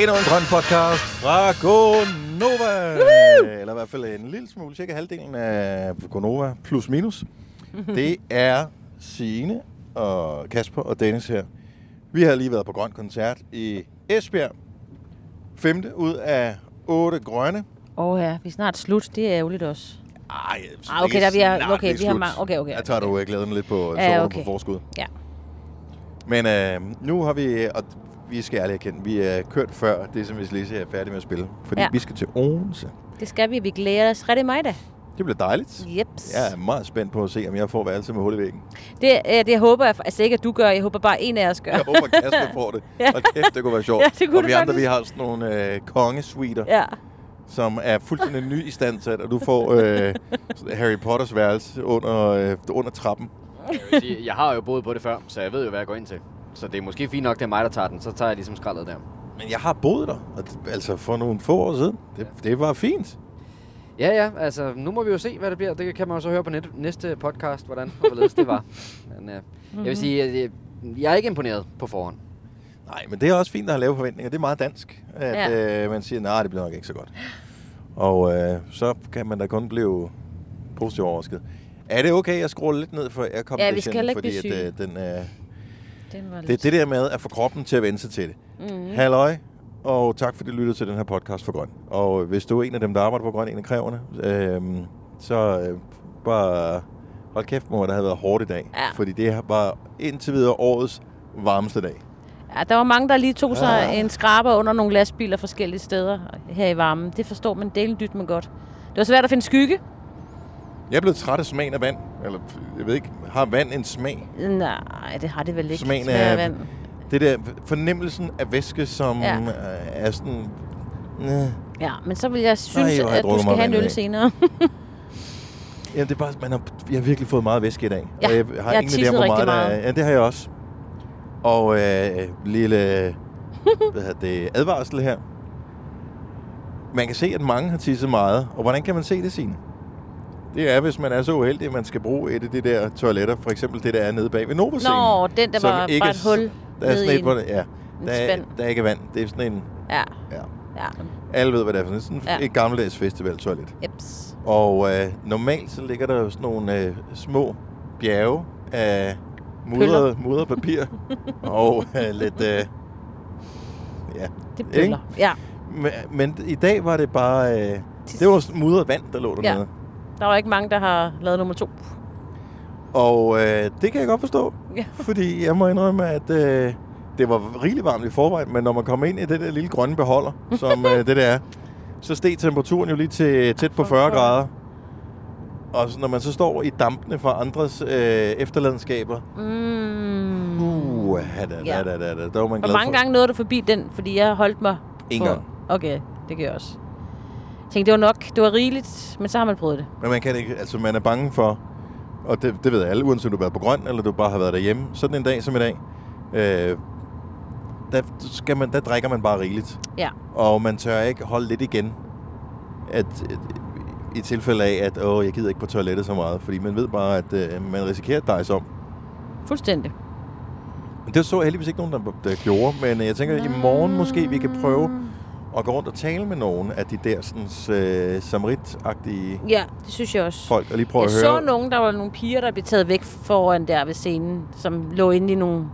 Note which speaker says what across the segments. Speaker 1: Endnu en grøn podcast fra Gonova. Eller i hvert fald en lille smule, cirka halvdelen af Gonova, plus minus. Det er Signe og Kasper og Dennis her. Vi har lige været på grøn koncert i Esbjerg. Femte ud af otte grønne.
Speaker 2: Åh oh, ja, vi er snart slut. Det er ærgerligt også.
Speaker 1: Ej, jeg synes
Speaker 2: Ah, okay,
Speaker 1: ikke
Speaker 2: der vi har-
Speaker 1: snart,
Speaker 2: okay,
Speaker 1: det er
Speaker 2: vi har
Speaker 1: slut.
Speaker 2: mange- okay, okay,
Speaker 1: Jeg tager dog jeg glæden lidt på,
Speaker 2: Ja,
Speaker 1: ja, okay.
Speaker 2: okay.
Speaker 1: på forskud.
Speaker 2: Ja.
Speaker 1: Men øh, nu har vi, og vi skal ærligt erkende, vi er kørt før det, som vi lige er færdige med at spille. Fordi
Speaker 2: Ja.
Speaker 1: ja. vi skal til Odense.
Speaker 2: Det skal vi. Vi glæder os rigtig meget da.
Speaker 1: Det bliver dejligt.
Speaker 2: Jeps.
Speaker 1: Jeg er meget spændt på at se, om jeg får værelse med hul i væggen.
Speaker 2: Det, øh, det håber jeg altså ikke, at du gør. Jeg håber bare, en af os gør.
Speaker 1: Jeg håber, Kasper får det.
Speaker 2: Ja.
Speaker 1: Og kæft, det kunne være sjovt.
Speaker 2: Ja, det kunne
Speaker 1: og
Speaker 2: det
Speaker 1: vi andre, vi
Speaker 2: faktisk.
Speaker 1: har sådan nogle øh, kongesuiter, ja.
Speaker 2: Ja.
Speaker 1: som er fuldstændig ny i standsat, og du får øh, Harry Potters værelse under, øh, under trappen.
Speaker 3: Jeg, vil sige, jeg har jo boet på det før, så jeg ved jo, hvad jeg går ind til. Så det er måske fint nok, det er mig, der tager den. Så tager jeg ligesom skraldet der.
Speaker 1: Men jeg har boet der, og det, altså for nogle få år siden. Det, det var fint.
Speaker 3: Ja, ja, altså nu må vi jo se, hvad det bliver. Det kan man jo så høre på net- næste podcast, hvordan og hvorledes det var. Men, øh, jeg vil sige, at jeg, jeg er ikke imponeret på forhånd.
Speaker 1: Nej, men det er også fint at have lave forventninger. Det er meget dansk, at ja. øh, man siger, nej, det bliver nok ikke så godt. Og øh, så kan man da kun blive positivt overrasket. Er det okay, jeg scroller lidt ned for aircondition?
Speaker 2: Ja, vi skal heller ikke
Speaker 1: fordi
Speaker 2: blive
Speaker 1: at, øh, den, øh,
Speaker 2: Den var
Speaker 1: Det er det der med at få kroppen til at vende sig til det.
Speaker 2: Mm-hmm.
Speaker 1: Mm.
Speaker 2: Mhm.
Speaker 1: Halløj, og tak fordi du lyttede til den her podcast for Grøn. Og hvis du er en af dem, der arbejder på Grøn, en af kræverne, øh, så øh, bare hold kæft, mor, der havde været hårdt i dag.
Speaker 2: Ja.
Speaker 1: Fordi det var indtil videre årets varmeste dag.
Speaker 2: Ja, der var mange, der lige tog sig
Speaker 1: Ah.
Speaker 2: en skraber under nogle lastbiler forskellige steder her i varmen. Det forstår man delen dyt med godt. Det var svært at finde skygge.
Speaker 1: Jeg blev træt af smagen af vand. Eller, jeg ved ikke, har vand en smag?
Speaker 2: Nej, det har det vel ikke.
Speaker 1: Smagen
Speaker 2: Smager
Speaker 1: af-
Speaker 2: vand.
Speaker 1: Det der fornemmelsen af væske, som
Speaker 2: Ja.
Speaker 1: ja. øh, er sådan... Øh,
Speaker 2: Ja, men så vil jeg synes,
Speaker 1: hvor har jeg
Speaker 2: at du
Speaker 1: drukket
Speaker 2: skal
Speaker 1: meget
Speaker 2: have en
Speaker 1: vand i
Speaker 2: øl
Speaker 1: dag.
Speaker 2: senere.
Speaker 1: jamen, det er bare, man har, jeg har virkelig fået meget væske i dag.
Speaker 2: Ja,
Speaker 1: og jeg
Speaker 2: jeg
Speaker 1: har
Speaker 2: har
Speaker 1: ingen idé om,
Speaker 2: tisset
Speaker 1: hvor meget,
Speaker 2: rigtig
Speaker 1: Der,
Speaker 2: meget.
Speaker 1: er. ja, det har jeg også. Og øh, lille hvad hedder det, advarsel her. Man kan se, at mange har tisset meget. Og hvordan kan man se det, Signe? Det er, hvis man er så uheldig, at man skal bruge et af de der toiletter. For eksempel det, der er nede bag ved nova
Speaker 2: Nå, den der
Speaker 1: som
Speaker 2: var
Speaker 1: ikke
Speaker 2: bare
Speaker 1: er
Speaker 2: et
Speaker 1: s-
Speaker 2: hul
Speaker 1: Der er
Speaker 2: nede
Speaker 1: sådan
Speaker 2: i
Speaker 1: et,
Speaker 2: en-
Speaker 1: hvor det, ja.
Speaker 2: en
Speaker 1: Der er,
Speaker 2: spand.
Speaker 1: der er ikke vand. Det er sådan en...
Speaker 2: Ja,
Speaker 1: Ja.
Speaker 2: ja.
Speaker 1: Alle ved, hvad det er for noget. sådan
Speaker 2: Ja.
Speaker 1: ja. et gammeldags festivaltoilet.
Speaker 2: Jeps.
Speaker 1: Og øh, normalt så ligger der jo sådan nogle øh, små bjerge af mudret, mudret papir og øh, lidt... Øh, ja.
Speaker 2: Det
Speaker 1: Ikke?
Speaker 2: bøller. Ja,
Speaker 1: Men, men i dag var det bare... Øh, det var sådan mudret vand, der lå dernede. Ja.
Speaker 2: der var ikke mange, der har lavet nummer to.
Speaker 1: Og øh, det kan jeg godt forstå,
Speaker 2: Ja.
Speaker 1: fordi jeg må indrømme, at øh, det var rigeligt varmt i forvejen, men når man kommer ind i det der lille grønne beholder, som øh, det der er, så steg temperaturen jo lige til tæt på 40 grader. Og så, når man så står i dampene fra andres øh, efterladenskaber,
Speaker 2: Mm.
Speaker 1: uh, da, da,
Speaker 2: Ja.
Speaker 1: da, da, da, der var man
Speaker 2: Hvor
Speaker 1: glad
Speaker 2: mange
Speaker 1: for.
Speaker 2: gange nåede du forbi den? Fordi jeg holdt mig...
Speaker 1: En
Speaker 2: for-
Speaker 1: gang.
Speaker 2: Okay, det gør jeg også. Jeg tænkte, det var nok, det var rigeligt, men så har man prøvet det.
Speaker 1: Men man, kan ikke, altså, man er bange for, og det, det ved alle, uanset om du har været på grøn, eller du bare har været derhjemme, sådan en dag som i dag, øh, der, skal man, der drikker man bare rigeligt.
Speaker 2: Ja.
Speaker 1: Og man tør ikke holde lidt igen. At, at, I tilfælde af, at åh, jeg gider ikke på toilettet så meget. Fordi man ved bare, at øh, man risikerer at dejse om.
Speaker 2: Fuldstændig.
Speaker 1: Men det så jeg heldigvis ikke nogen, der, der gjorde. Men øh, jeg tænker, at i morgen måske vi kan prøve at gå rundt og tale med nogen af de der sådan, øh, samrit-agtige
Speaker 2: Ja, det synes jeg også.
Speaker 1: folk. Og lige prøve
Speaker 2: jeg
Speaker 1: at
Speaker 2: så
Speaker 1: høre.
Speaker 2: nogen, der var nogle piger, der blev taget væk foran der ved scenen, som lå inde i nogle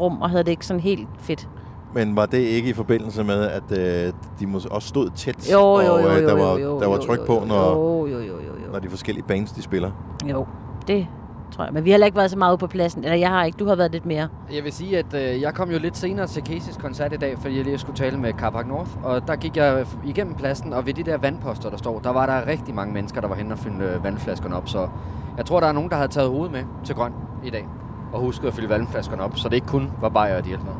Speaker 2: rum og havde det ikke sådan helt fedt.
Speaker 1: Men var det ikke i forbindelse med, at øh, de måske også stod tæt?
Speaker 2: Jo, jo,
Speaker 1: og,
Speaker 2: jo, jo,
Speaker 1: øh, der
Speaker 2: jo,
Speaker 1: var,
Speaker 2: jo,
Speaker 1: der var
Speaker 2: jo,
Speaker 1: tryk
Speaker 2: jo,
Speaker 1: på,
Speaker 2: jo,
Speaker 1: når,
Speaker 2: Jo, jo, jo, jo, jo.
Speaker 1: når de forskellige bands, de spiller.
Speaker 2: Jo, det tror jeg. Men vi har heller ikke været så meget ude på pladsen. Eller jeg har ikke, du har været lidt mere.
Speaker 3: Jeg vil sige, at øh, jeg kom jo lidt senere til Casey's koncert i dag, fordi jeg lige skulle tale med Carpark North. Og der gik jeg f- igennem pladsen, og ved de der vandposter, der står, der var der rigtig mange mennesker, der var henne og fylde øh, vandflaskerne op. Så jeg tror, der er nogen, der havde taget hovedet med til grøn i dag. Og husket at fylde vandflaskerne op, så det ikke kun var bajer og de ældre.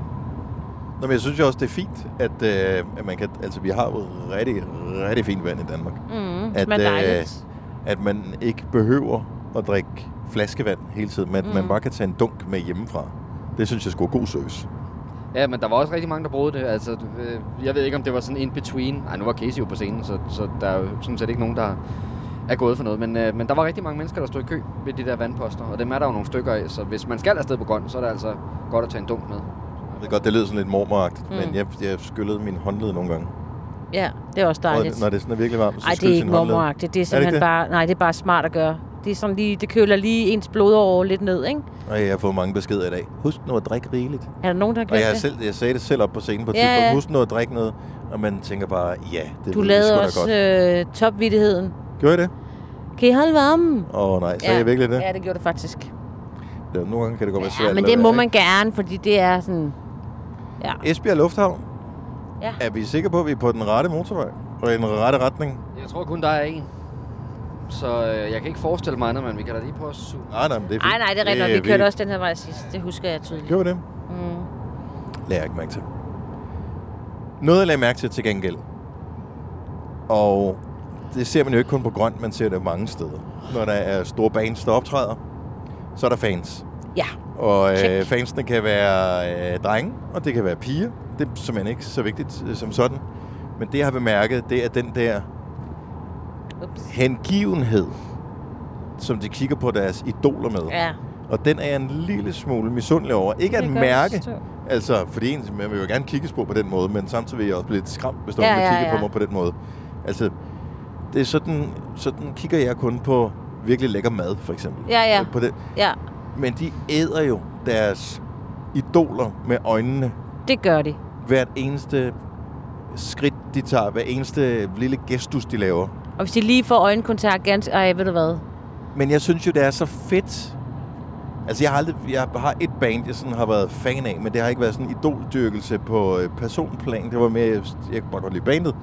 Speaker 1: Nå, men jeg synes jo også, det er fint, at, øh, at man kan, altså, vi har jo rigtig, rigtig fint vand i Danmark.
Speaker 2: Mm,
Speaker 1: At,
Speaker 2: at, men
Speaker 1: øh,
Speaker 2: dejligt.
Speaker 1: At man ikke behøver at drikke flaskevand hele tiden, men mm. man bare kan tage en dunk med hjemmefra. Det synes jeg skulle god service.
Speaker 3: Ja, men der var også rigtig mange, der brugte det. Altså, øh, jeg ved ikke, om det var sådan in between. Ej, nu var Casey jo på scenen, så, så der er jo sådan set ikke nogen, der er gået for noget. Men, øh, men der var rigtig mange mennesker, der stod i kø ved de der vandposter, og dem er der jo nogle stykker af. Så hvis man skal afsted på grøn, så er det altså godt at tage en dunk med.
Speaker 1: Jeg ved godt, det lyder sådan lidt mormoragtigt, mm. men
Speaker 2: Mm.
Speaker 1: jeg, jeg skyllede min håndled nogle gange.
Speaker 2: Ja, det er også
Speaker 1: Og
Speaker 2: dejligt.
Speaker 1: når det er sådan er virkelig varmt, så
Speaker 2: Nej, det
Speaker 1: skylles
Speaker 2: er ikke
Speaker 1: sin håndled.
Speaker 2: mormoragtigt. Det er simpelthen
Speaker 1: det?
Speaker 2: det bare, nej, det er bare smart at gøre. Det er sådan lige, det køler lige ens blodår lidt ned, ikke?
Speaker 1: Og jeg har fået mange beskeder i dag. Husk nu at drikke rigeligt.
Speaker 2: Er der nogen, der har
Speaker 1: Og
Speaker 2: glemt
Speaker 1: jeg, har
Speaker 2: det?
Speaker 1: selv, jeg sagde det selv op på scenen på et
Speaker 2: Ja,
Speaker 1: tidspunkt.
Speaker 2: ja.
Speaker 1: Husk nu at drikke noget. Og man tænker bare, ja, det
Speaker 2: du
Speaker 1: lyder
Speaker 2: lavede
Speaker 1: sgu da
Speaker 2: også
Speaker 1: godt.
Speaker 2: øh, topvittigheden.
Speaker 1: Gjorde I det?
Speaker 2: Kan I holde varmen?
Speaker 1: Åh oh, nej, sagde ja. jeg virkelig det?
Speaker 2: Ja, det gjorde det faktisk. Ja,
Speaker 1: Ja. Nogle gange kan det godt være svært. at
Speaker 2: men
Speaker 1: lade
Speaker 2: det må
Speaker 1: være,
Speaker 2: man gerne, fordi det er sådan... Ja.
Speaker 1: ikke? Esbjerg Lufthavn.
Speaker 2: Ja.
Speaker 1: Er vi sikre på, at vi er på den rette motorvej? Og i den rette retning?
Speaker 3: Jeg tror kun, der er en. Så øh, jeg kan ikke forestille mig andet, men vi kan da lige prøve at zoome.
Speaker 1: Nej, nej, men det er fint.
Speaker 2: Nej, nej, det er rigtigt. nok. Vi kørte også den her vej sidst. Det husker jeg tydeligt.
Speaker 1: Gjorde vi det?
Speaker 2: Mm.
Speaker 1: Lagde jeg ikke mærke til. Noget, jeg lagde mærke til til gengæld, og det ser man jo ikke kun på grønt, man ser det mange steder. Når der er store bands, der optræder, så er der fans.
Speaker 2: Ja,
Speaker 1: Og øh,
Speaker 2: Check.
Speaker 1: fansene kan være øh, drenge, og det kan være piger. Det er simpelthen ikke så vigtigt øh, som sådan. Men det, jeg har bemærket, det er den der
Speaker 2: ups.
Speaker 1: hengivenhed, som de kigger på deres idoler med.
Speaker 2: Ja.
Speaker 1: Og den er jeg en lille smule misundelig over. Ikke
Speaker 2: Det
Speaker 1: at
Speaker 2: kan jeg
Speaker 1: mærke,
Speaker 2: forstå.
Speaker 1: altså, fordi en, man vil jo gerne kigges på på den måde, men samtidig vil jeg også blive lidt skræmt, hvis der
Speaker 2: Ja,
Speaker 1: ja, ja,
Speaker 2: ja,
Speaker 1: kigger på
Speaker 2: ja.
Speaker 1: mig på den måde. Altså, det er sådan, sådan kigger jeg kun på virkelig lækker mad, for eksempel.
Speaker 2: Ja, ja.
Speaker 1: Øh, På det.
Speaker 2: Ja,
Speaker 1: Men de æder jo deres idoler med øjnene.
Speaker 2: det gør de.
Speaker 1: Hvert eneste skridt, de tager, hver eneste lille gestus, de laver.
Speaker 2: Og hvis de lige får øjenkontakt ganske... Ej, ved du hvad?
Speaker 1: Men jeg synes jo, det er så fedt. Altså, jeg har, aldrig, jeg har et band, jeg sådan har været fan af, men det har ikke været sådan idoldyrkelse på øh, personplan. Det var mere, jeg jeg kunne bare godt lide bandet.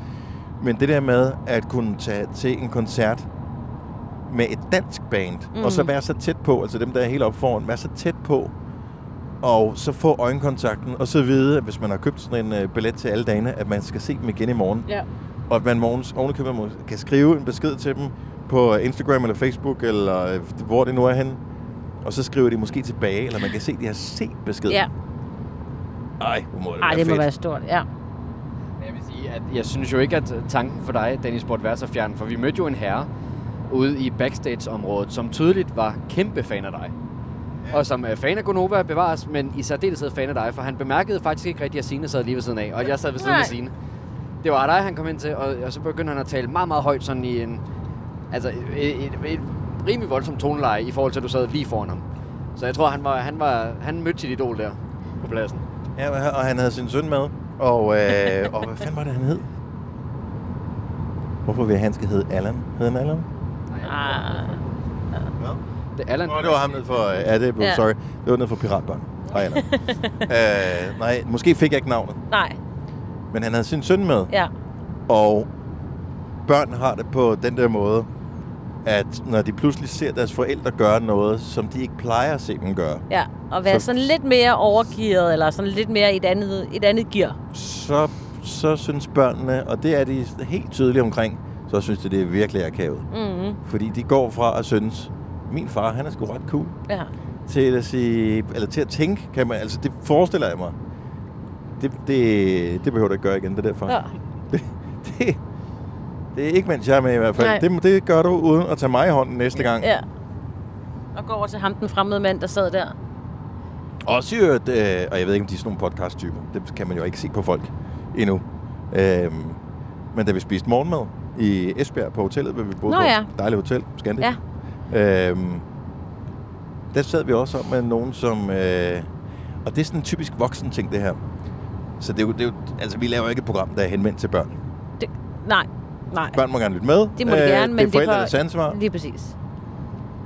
Speaker 1: Men det der med at kunne tage til en koncert med et dansk band, mm. og så være så tæt på, altså dem, der er helt oppe foran, være så tæt på, og så få øjenkontakten, og så vide, at hvis man har købt sådan en øh, billet til alle dagene, at man skal se dem igen i morgen.
Speaker 2: Ja.
Speaker 1: Og at man morgens ovenikøbet må- kan skrive en besked til dem på øh, Instagram eller Facebook, eller øh, hvor det nu er henne. Og så skriver de måske tilbage, eller man kan se, at de har set beskeden.
Speaker 2: Ja.
Speaker 1: Ej, hvor må det
Speaker 2: Ej,
Speaker 1: være
Speaker 2: det
Speaker 1: fedt.
Speaker 2: må være stort. Ja.
Speaker 3: Jeg vil sige, at jeg synes jo ikke, at tanken for dig, Dennis, burde være så fjern, for vi mødte jo en herre ude i backstage-området, som tydeligt var kæmpe fan af dig. Og som er fan af Gonova bevares, men i særdeleshed fan af dig, for han bemærkede faktisk ikke rigtig, at Signe sad lige ved siden af, og jeg sad ved siden af
Speaker 2: Nej.
Speaker 3: Signe. Det var dig, han kom ind til, og, og så begyndte han at tale meget, meget højt, sådan i en, altså, et, et, et rimelig voldsom toneleje, i forhold til, at du sad lige foran ham. Så jeg tror, han, var, han, var, han mødte sit idol der på pladsen.
Speaker 1: Ja, og han havde sin søn med. Og, øh, og hvad fanden var det, han hed? Hvorfor vil jeg, han skal hedde Allan? Hed han Allan?
Speaker 2: Ah.
Speaker 1: Ja.
Speaker 3: Det er Allan.
Speaker 1: Nå, det var ham nede for... Øh, ja, det blev, ja.
Speaker 2: Ja.
Speaker 1: sorry. Det var nede for Piratbørn. Hej, Allan. øh, nej, måske fik jeg ikke navnet,
Speaker 2: Nej,
Speaker 1: men han havde sin søn med.
Speaker 2: ja.
Speaker 1: Og børn har det på den der måde, at når de pludselig ser deres forældre gøre noget, som de ikke plejer at se dem gøre,
Speaker 2: Ja, og være
Speaker 1: Så-
Speaker 2: så... sådan lidt mere overgearet, eller sådan lidt mere i et andet, et andet gear.
Speaker 1: så, så synes børnene, og det er de helt tydelige omkring, så synes de, det er virkelig akavet.
Speaker 2: Mm-hmm.
Speaker 1: Fordi de går fra at synes, min far, han er sgu ret cool,
Speaker 2: Ja.
Speaker 1: til at, sige, eller til at tænke, kan man, altså det forestiller jeg mig. Det, det, det behøver du ikke gøre igen, det der far.
Speaker 2: ja.
Speaker 1: Det, det er ikke, mens jeg er med i hvert
Speaker 2: Nej.
Speaker 1: fald. Det, det gør du uden at tage mig i hånden næste gang.
Speaker 2: Ja. Og går over til ham, den fremmede mand, der sad der.
Speaker 1: Også i øvrigt, øh, og jeg ved ikke, om de er sådan nogle podcast-typer. Det kan man jo ikke se på folk endnu. Øh, men da vi spiste morgenmad i Esbjerg på hotellet, hvor vi boede
Speaker 2: Nå
Speaker 1: på
Speaker 2: ja.
Speaker 1: dejligt hotel, Scandic. Ja. Øh, der sad vi også om med nogen, som... Øh, og det er sådan en typisk voksen ting, det her. Så det er jo, det er jo, altså, vi laver jo ikke et program, der er henvendt til børn.
Speaker 2: Det, nej, nej.
Speaker 1: Børn må gerne lytte med. Øh,
Speaker 2: Det må de gerne, men
Speaker 1: det
Speaker 2: det
Speaker 1: er
Speaker 2: er
Speaker 1: forældrenes
Speaker 2: for-
Speaker 1: ansvar.
Speaker 2: Lige præcis.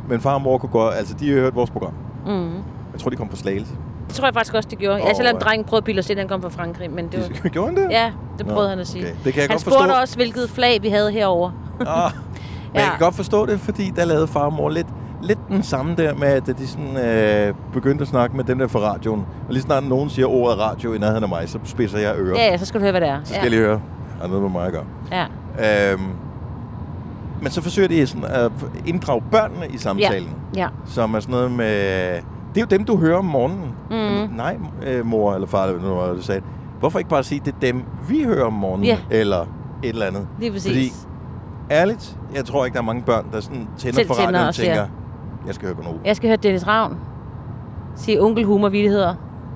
Speaker 1: Men far og mor kunne godt... Altså, de har hørt vores program.
Speaker 2: Mm.
Speaker 1: Jeg tror, de kom på Slagelse.
Speaker 2: Det tror jeg faktisk også, det gjorde.
Speaker 1: Åh,
Speaker 2: Jeg selvom
Speaker 1: ja.
Speaker 2: drengen prøvede at bilde os ind, han kom fra Frankrig, men det var...
Speaker 1: Gjorde han det?
Speaker 2: Ja, det
Speaker 1: Nå,
Speaker 2: prøvede Nå, han at sige.
Speaker 1: okay. Det kan jeg
Speaker 2: han
Speaker 1: godt
Speaker 2: spurgte
Speaker 1: forstå.
Speaker 2: også, hvilket flag vi havde herover.
Speaker 1: Ah, men ja. jeg kan
Speaker 2: Ja.
Speaker 1: godt forstå det, fordi der lavede far og mor lidt, lidt den samme der med, at de sådan, øh, begyndte at snakke med dem der fra radioen. Og lige snart nogen siger ordet radio i nærheden af mig, så spidser jeg ører.
Speaker 2: Ja, ja, så skal du høre, hvad det er.
Speaker 1: Så skal
Speaker 2: Ja.
Speaker 1: jeg lige høre, har noget med mig at gøre.
Speaker 2: ja.
Speaker 1: Øhm, men så forsøger de sådan at inddrage børnene i samtalen, ja.
Speaker 2: ja.
Speaker 1: som er sådan noget med... Det er jo dem, du hører om morgenen.
Speaker 2: Mhm.
Speaker 1: Nej, øh, mor eller far, eller hvad det nu var, du sagde. Hvorfor ikke bare sige, det er dem, vi hører om morgenen,
Speaker 2: Ja.
Speaker 1: eller et eller andet.
Speaker 2: Lige præcis.
Speaker 1: Fordi ærligt, jeg tror ikke, der er mange børn, der sådan tænder
Speaker 2: Selv
Speaker 1: for radioen
Speaker 2: tænder
Speaker 1: og
Speaker 2: og
Speaker 1: tænker,
Speaker 2: siger-
Speaker 1: jeg skal høre Gonova.
Speaker 2: Jeg skal høre Dennis Ravn sige onkel humor vittigheder.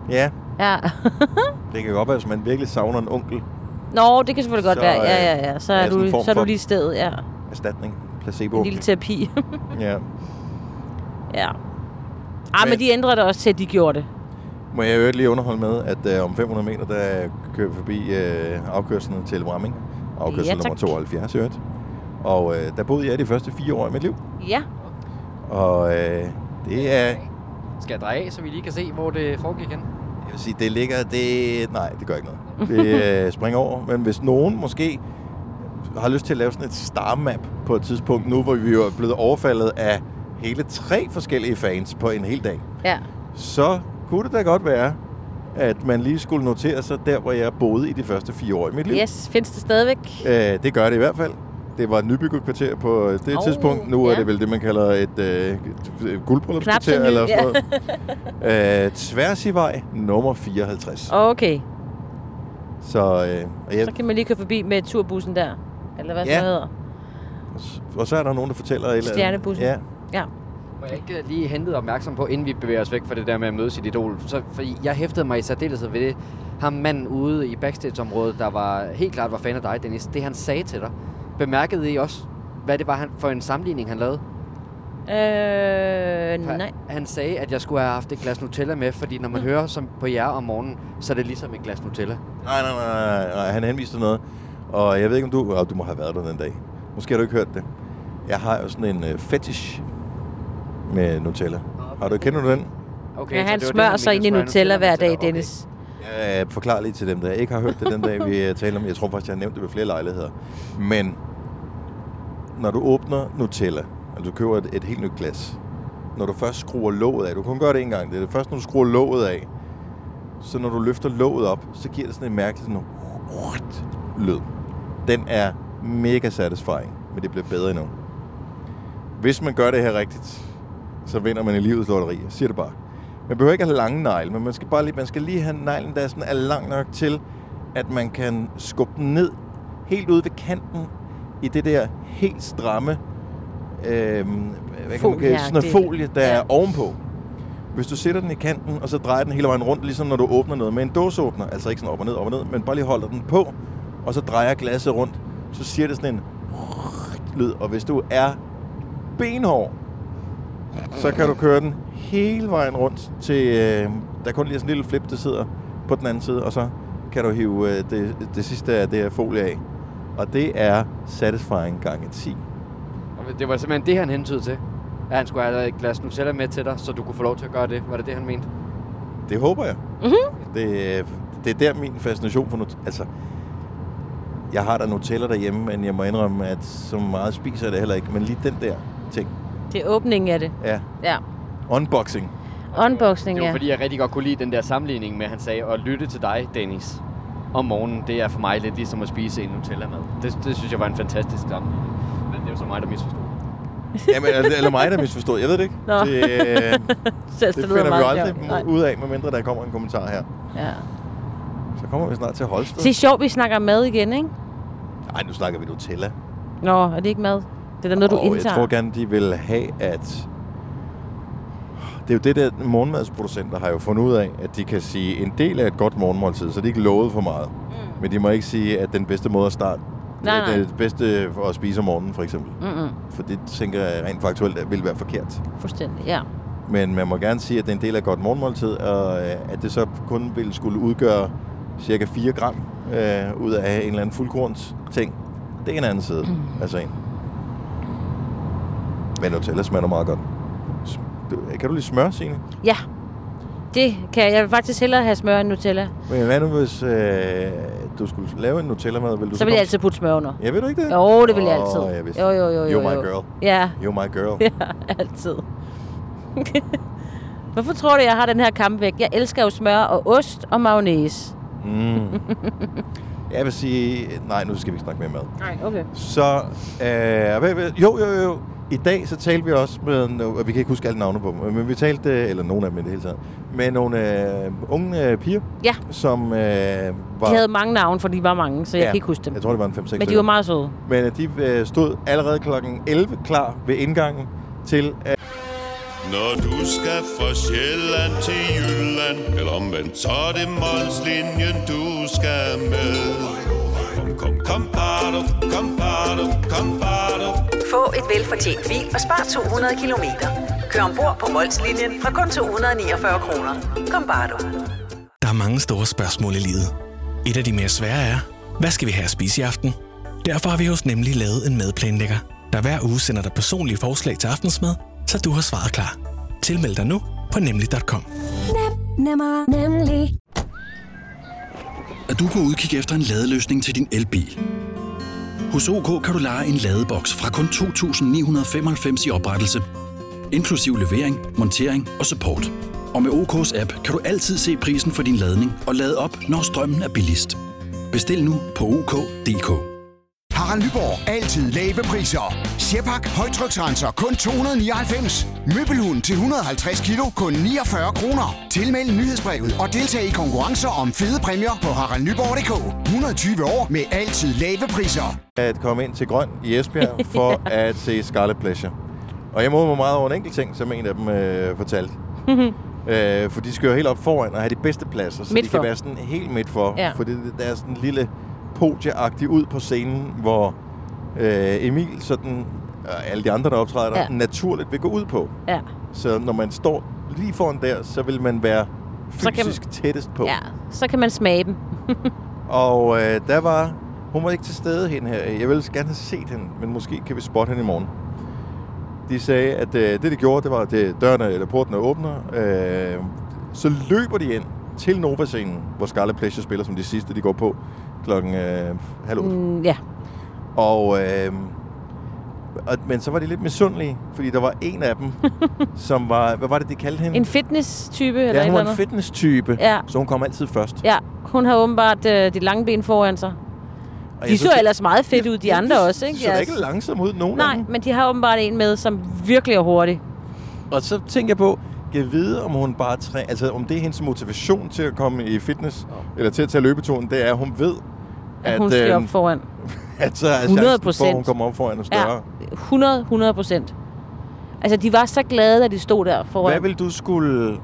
Speaker 1: Ja,
Speaker 2: Ja.
Speaker 1: Det kan godt være, hvis man virkelig savner en onkel.
Speaker 2: Nå, det kan selvfølgelig godt
Speaker 1: Så,
Speaker 2: så, være. Ja,
Speaker 1: øh,
Speaker 2: ja, ja. Så
Speaker 1: er
Speaker 2: er,
Speaker 1: sådan en
Speaker 2: du,
Speaker 1: form
Speaker 2: så er
Speaker 1: for-
Speaker 2: du lige i stedet, ja.
Speaker 1: Erstatning. Placebo.
Speaker 2: En lille terapi.
Speaker 1: Ja.
Speaker 2: ja. Ah, men,
Speaker 1: Men-
Speaker 2: men de ændrede det også til, at de gjorde det.
Speaker 1: Må jeg i øvrigt lige underholde med, at øh, om 500 meter, der kører vi forbi øh, afkørslen til Bramming. Afkørsel
Speaker 2: Ja,
Speaker 1: nummer
Speaker 2: tak.
Speaker 1: 72 i øvrigt. Og øh, der boede jeg de første fire år af mit liv.
Speaker 2: Ja.
Speaker 1: Og øh, det er...
Speaker 3: Skal jeg dreje af, så vi lige kan se, hvor det foregik hen?
Speaker 1: Jeg vil sige, det ligger... Det, nej, det gør ikke noget. Det øh, springer over. Men hvis nogen måske har lyst til at lave sådan et star-map på et tidspunkt, nu hvor vi jo er blevet overfaldet af hele tre forskellige fans på en hel dag,
Speaker 2: Ja.
Speaker 1: så kunne det da godt være, at man lige skulle notere sig der, hvor jeg boede i de første fire år i mit liv.
Speaker 2: Yes, findes det stadigvæk?
Speaker 1: Øh, det gør det i hvert fald. Det var et nybygget kvarter på det
Speaker 2: Oh,
Speaker 1: tidspunkt. Nu er
Speaker 2: ja.
Speaker 1: det vel det, man kalder et, øh, et
Speaker 2: Knap så
Speaker 1: guldbryllupskvarter
Speaker 2: ny,
Speaker 1: eller sådan
Speaker 2: ja.
Speaker 1: noget. øh, tværs i vej, nummer 54. Oh.
Speaker 2: Okay,
Speaker 1: Så, øh, og, jeg,
Speaker 2: så kan man lige køre forbi med turbussen der. Eller hvad
Speaker 1: Ja.
Speaker 2: ja. det hedder.
Speaker 1: og så er der nogen, der fortæller... et eller andet.
Speaker 2: Stjernebussen.
Speaker 1: Ja.
Speaker 2: Ja.
Speaker 3: Må jeg ikke øh, lige hente opmærksom på, inden vi bevæger os væk fra det der med at mødes i dit idol? Så, fordi jeg hæftede mig i særdeleshed ved det. Ham manden ude i backstage-området, der var helt klart var fan af dig, Dennis. Det han sagde til dig. Bemærkede I også, hvad det var han, for en sammenligning, han lavede?
Speaker 2: Øh,
Speaker 3: For
Speaker 2: nej. Mm.
Speaker 3: Han sagde, at jeg skulle have haft et glas Nutella med, fordi når man hører som på jer om morgenen, så er det ligesom et glas Nutella.
Speaker 1: Nej, nej, nej, nej, nej. Han henviste til noget. Og jeg ved ikke, om du... Oh, du må have været der den dag. Måske har du ikke hørt det. Jeg har jo sådan en øh, fetish med Nutella. Har du, kender du den?
Speaker 3: Okay,
Speaker 2: Ja, han
Speaker 3: det var det,
Speaker 2: smører sig
Speaker 3: mente,
Speaker 2: ind i
Speaker 3: smører
Speaker 2: Nutella hver dag,
Speaker 3: Okay.
Speaker 2: Dennis.
Speaker 1: Jeg forklarer lige til dem, der ikke har hørt det den dag, vi øh, taler om. Jeg tror faktisk, jeg har nævnt det ved flere lejligheder. Men når du åbner Nutella, altså du køber et, et helt nyt glas, når du først skruer låget af, du kan gøre det en gang, det er det først, når du skruer låget af, så når du løfter låget op, så giver det sådan en mærkelig sådan en lyd. Den er mega satisfying, men det bliver bedre endnu. Hvis man gør det her rigtigt, så vinder man i livets lotteri. Jeg siger det bare. Man behøver ikke have lange negle, men man skal, bare lige, man skal lige have neglen, der sådan er lang nok til, at man kan skubbe den ned helt ude ved kanten i det der helt stramme øh, hvad kan man, kalde det? sådan noget
Speaker 2: Folieagtigt.
Speaker 1: folie, der ja.
Speaker 2: Ja.
Speaker 1: er ovenpå. Hvis du sætter den i kanten, og så drejer den hele vejen rundt, ligesom når du åbner noget med en dåseåbner, altså ikke sådan op og ned, op og ned, men bare lige holder den på, og så drejer glasset rundt, så siger det sådan en lyd, og hvis du er benhård, så kan du køre den hele vejen rundt til, øh, der er kun lige sådan en lille flip, der sidder på den anden side, og så kan du hive øh, det, det sidste af det her folie af. Og det er satisfying gange 10.
Speaker 3: Og Det var simpelthen det, han hentede til. At han skulle have et glas Nutella med til dig, så du kunne få lov til at gøre det. Var det det, han mente?
Speaker 1: Det håber jeg.
Speaker 2: Mhm.
Speaker 1: Mm-hmm. Det, øh, det er der min fascination for Nutella. Altså, jeg har da Nutella derhjemme, men jeg må indrømme, at så meget spiser jeg det heller ikke. Men lige den der ting.
Speaker 2: Det er åbningen af det.
Speaker 1: Ja,
Speaker 2: Ja.
Speaker 1: unboxing.
Speaker 2: Unboxing,
Speaker 3: Det var
Speaker 2: ja.
Speaker 3: fordi, jeg rigtig godt kunne lide den der sammenligning med, at han sagde, at lytte til dig, Dennis, om morgenen, det er for mig lidt ligesom at spise en Nutella-mad. Det, det synes jeg var en fantastisk sammenligning. Men det er jo så mig, der misforstod.
Speaker 1: Jamen, altså, eller- eller mig, der misforstod. Jeg ved det ikke.
Speaker 2: Nå.
Speaker 1: Det, øh,
Speaker 2: Så
Speaker 1: Det finder vi jo aldrig
Speaker 2: sjovt. Nej.
Speaker 1: ud af, medmindre der kommer en kommentar her.
Speaker 2: Ja.
Speaker 1: Så kommer vi snart til Holsted.
Speaker 2: Det er sjovt, vi snakker mad igen, ikke?
Speaker 1: Nej, nu snakker vi Nutella.
Speaker 2: Nå, er det ikke mad? Det er da noget, du
Speaker 1: og jeg
Speaker 2: indtager.
Speaker 1: tror gerne, de vil have, at... Det er jo det der, morgenmadsproducenter har jo fundet ud af, at de kan sige, en del af et godt morgenmåltid, så de ikke lovet for meget. Mm. Men de må ikke sige, at den bedste måde at starte,
Speaker 2: Nej,
Speaker 1: det er
Speaker 2: nej. Mm.
Speaker 1: det bedste for at spise om morgenen, for eksempel.
Speaker 2: Mm-mm,
Speaker 1: For det tænker jeg rent faktuelt vil være forkert.
Speaker 2: fuldstændig, ja.
Speaker 1: Men man må gerne sige, at det er en del af et godt morgenmåltid, og øh, at det så kun ville skulle udgøre cirka 4 gram øh, ud af en eller anden fuldkorns ting. Det er en anden side mm. altså en. Men Nutella smager meget godt. S- du- Kan du lige smøre, Signe?
Speaker 2: Ja, det kan jeg. Jeg vil faktisk hellere have smør end Nutella.
Speaker 1: Men hvad nu, hvis øh, du skulle lave en Nutella-mad? Vil du
Speaker 2: Så vil jeg
Speaker 1: komme-
Speaker 2: altid putte smør under.
Speaker 1: Ja, ved du ikke det?
Speaker 2: Jo, det vil jeg
Speaker 1: Åh,
Speaker 2: altid.
Speaker 1: jeg vidste
Speaker 2: jo, jo, jo, jo.
Speaker 1: You're my
Speaker 2: jo.
Speaker 1: girl.
Speaker 2: Ja,
Speaker 1: You're my girl.
Speaker 2: ja, altid. Hvorfor tror du, jeg har den her kampvægt? Jeg elsker jo smør og ost og mayonnaise.
Speaker 1: Mm. Jeg vil sige... Nej, nu skal vi ikke snakke mere mad.
Speaker 2: Nej, okay.
Speaker 1: Så, øh, hvad, hvad, jo, jo, jo. I dag så talte vi også med, no- og vi kan ikke huske alle navne på dem, men vi talte, øh, eller nogen af dem i det hele taget, med nogle øh, unge øh, piger,
Speaker 2: Ja.
Speaker 1: som øh, var...
Speaker 2: De havde mange navne, for de var mange, så jeg kan ikke huske dem.
Speaker 1: Jeg tror, det var en 5-6
Speaker 2: Men de var meget søde.
Speaker 1: Men øh, de øh, stod allerede klokken 11 klar ved indgangen til... Øh,
Speaker 4: Når du skal fra Sjælland til Jylland Eller omvendt, så er det Molslinjen, du skal med Kom, kom, kom, bado, kom, bado, kom, bado.
Speaker 5: Få et velfortjent bil og spar 200 kilometer. Kør ombord på Molslinjen fra kun 249 kroner. Kom bare du.
Speaker 6: Der er mange store spørgsmål i livet. Et af de mere svære er, hvad skal vi have at spise i aften? Derfor har vi hos Nemlig lavet en madplanlægger, der hver uge sender dig personlige forslag til aftensmad, så du har svaret klar. Tilmeld dig nu på nemlig.com.
Speaker 7: Nemmer, nemlig.
Speaker 6: Er du på udkig efter en ladeløsning til din elbil? Hos OK kan du lege en ladeboks fra kun 2.995 i oprettelse, inklusiv levering, montering og support. Og med OK's app kan du altid se prisen for din ladning og lade op, når strømmen er billigst. Bestil nu på OK.dk.
Speaker 8: Harald Nyborg. Altid lave priser. Sjehpak. Højtryksrenser. Kun 299. Møbelhund til 150 kilo. Kun 49 kroner. Tilmeld nyhedsbrevet og deltag i konkurrencer om fede præmier på haraldnyborg.dk. 120 år med altid lave priser.
Speaker 1: at komme ind til Grøn i Esbjerg for at se Scarlet Pleasure. Og jeg måder mig meget over en enkelt ting, som en af dem øh, fortalte. øh, for de skal jo helt op foran og have de bedste pladser, så
Speaker 2: Midt
Speaker 1: de
Speaker 2: for.
Speaker 1: kan være sådan helt midt for.
Speaker 2: Ja.
Speaker 1: For det, der er sådan en lille podieagtig ud på scenen, hvor øh, Emil sådan, og alle de andre, der optræder der,
Speaker 2: Ja.
Speaker 1: ja. naturligt vil gå ud på.
Speaker 2: Ja.
Speaker 1: Så når man står lige foran der, så vil man være
Speaker 2: Så kan-
Speaker 1: fysisk tættest på.
Speaker 2: ja. Så kan man smage dem.
Speaker 1: Og øh, der var... Hun var ikke til stede hende her. Jeg ville så gerne have set hende, men måske kan vi spotte hende i morgen. De sagde, at øh, det, de gjorde, det var, at øh, dørene eller portene åbner. Øh, så løber de ind til Nova-scenen, hvor Scarlet Pleasure spiller som de sidste, de går på klokken øh, halv otte.
Speaker 2: Mm, ja.
Speaker 1: Og, øh, og, men så var de lidt misundelige, fordi der var en af dem, som var... Hvad var det, de kaldte hende?
Speaker 2: En fitness-type eller
Speaker 1: ja,
Speaker 2: et
Speaker 1: hun
Speaker 2: eller
Speaker 1: var en
Speaker 2: andet.
Speaker 1: fitness-type,
Speaker 2: Ja.
Speaker 1: så hun kom altid først.
Speaker 2: Ja, hun har åbenbart øh, de lange ben foran sig.
Speaker 1: Og
Speaker 2: De
Speaker 1: jeg
Speaker 2: så
Speaker 1: synes, det-
Speaker 2: ellers meget fedt ud, de andre også, ikke?
Speaker 1: Så der
Speaker 2: Jeres-
Speaker 1: ikke langsomt ud nogen af
Speaker 2: Nej,
Speaker 1: dem.
Speaker 2: men de har åbenbart en med, som virkelig er hurtig.
Speaker 1: Og så tænker jeg på, kan jeg vide, om hun bare træ... Altså, om det er hendes motivation til at komme i fitness, eller til at tage løbeturen, det er, at hun ved,
Speaker 2: At,
Speaker 1: at,
Speaker 2: hun skal
Speaker 1: øhm,
Speaker 2: op foran.
Speaker 1: at så er
Speaker 2: 100
Speaker 1: chancen for, at hun kommer op foran og
Speaker 2: Ja,
Speaker 1: større.
Speaker 2: 100, 100 procent. Altså, de var så glade, da de stod der
Speaker 1: Ja.
Speaker 2: foran.
Speaker 1: Hvad vil du skulle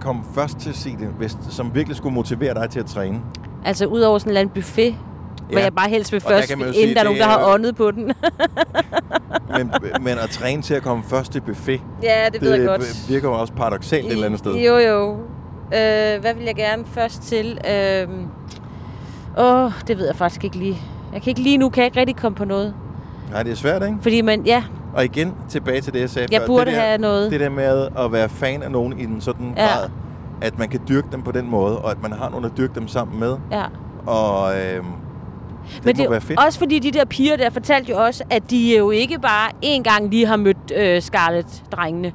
Speaker 1: komme først til at se det, hvis, som virkelig skulle motivere dig til at træne?
Speaker 2: Altså, ud over sådan en eller anden buffet, ja. hvor
Speaker 1: Ja.
Speaker 2: jeg bare helst vil
Speaker 1: Og der
Speaker 2: først,
Speaker 1: kan man jo
Speaker 2: inden
Speaker 1: sige,
Speaker 2: der er nogen,
Speaker 1: det
Speaker 2: der
Speaker 1: er
Speaker 2: har
Speaker 1: jo-
Speaker 2: åndet på den.
Speaker 1: Men, men at træne til at komme først til buffet,
Speaker 2: ja, det ved jeg godt.
Speaker 1: det virker jo også paradoxalt et eller andet sted.
Speaker 2: Jo, jo. Øh, hvad vil jeg gerne først til? Øh, åh, det ved jeg faktisk ikke lige. Jeg kan ikke lige nu, kan jeg ikke rigtig komme på noget.
Speaker 1: Nej, det er svært, ikke?
Speaker 2: Fordi man, ja,
Speaker 1: Og igen, tilbage til det, jeg sagde
Speaker 2: Jeg
Speaker 1: før.
Speaker 2: burde
Speaker 1: det der,
Speaker 2: have noget.
Speaker 1: Det der med at være fan af nogen i en sådan
Speaker 2: Ja.
Speaker 1: ja. grad, at man kan dyrke dem på den måde, og at man har nogen at dyrke dem sammen med.
Speaker 2: ja.
Speaker 1: Og øhm, det
Speaker 2: Men
Speaker 1: må
Speaker 2: det er
Speaker 1: være fedt.
Speaker 2: også fordi, de der piger der fortalte jo også, at de jo ikke bare én gang lige har mødt øh, Scarlett-drengene.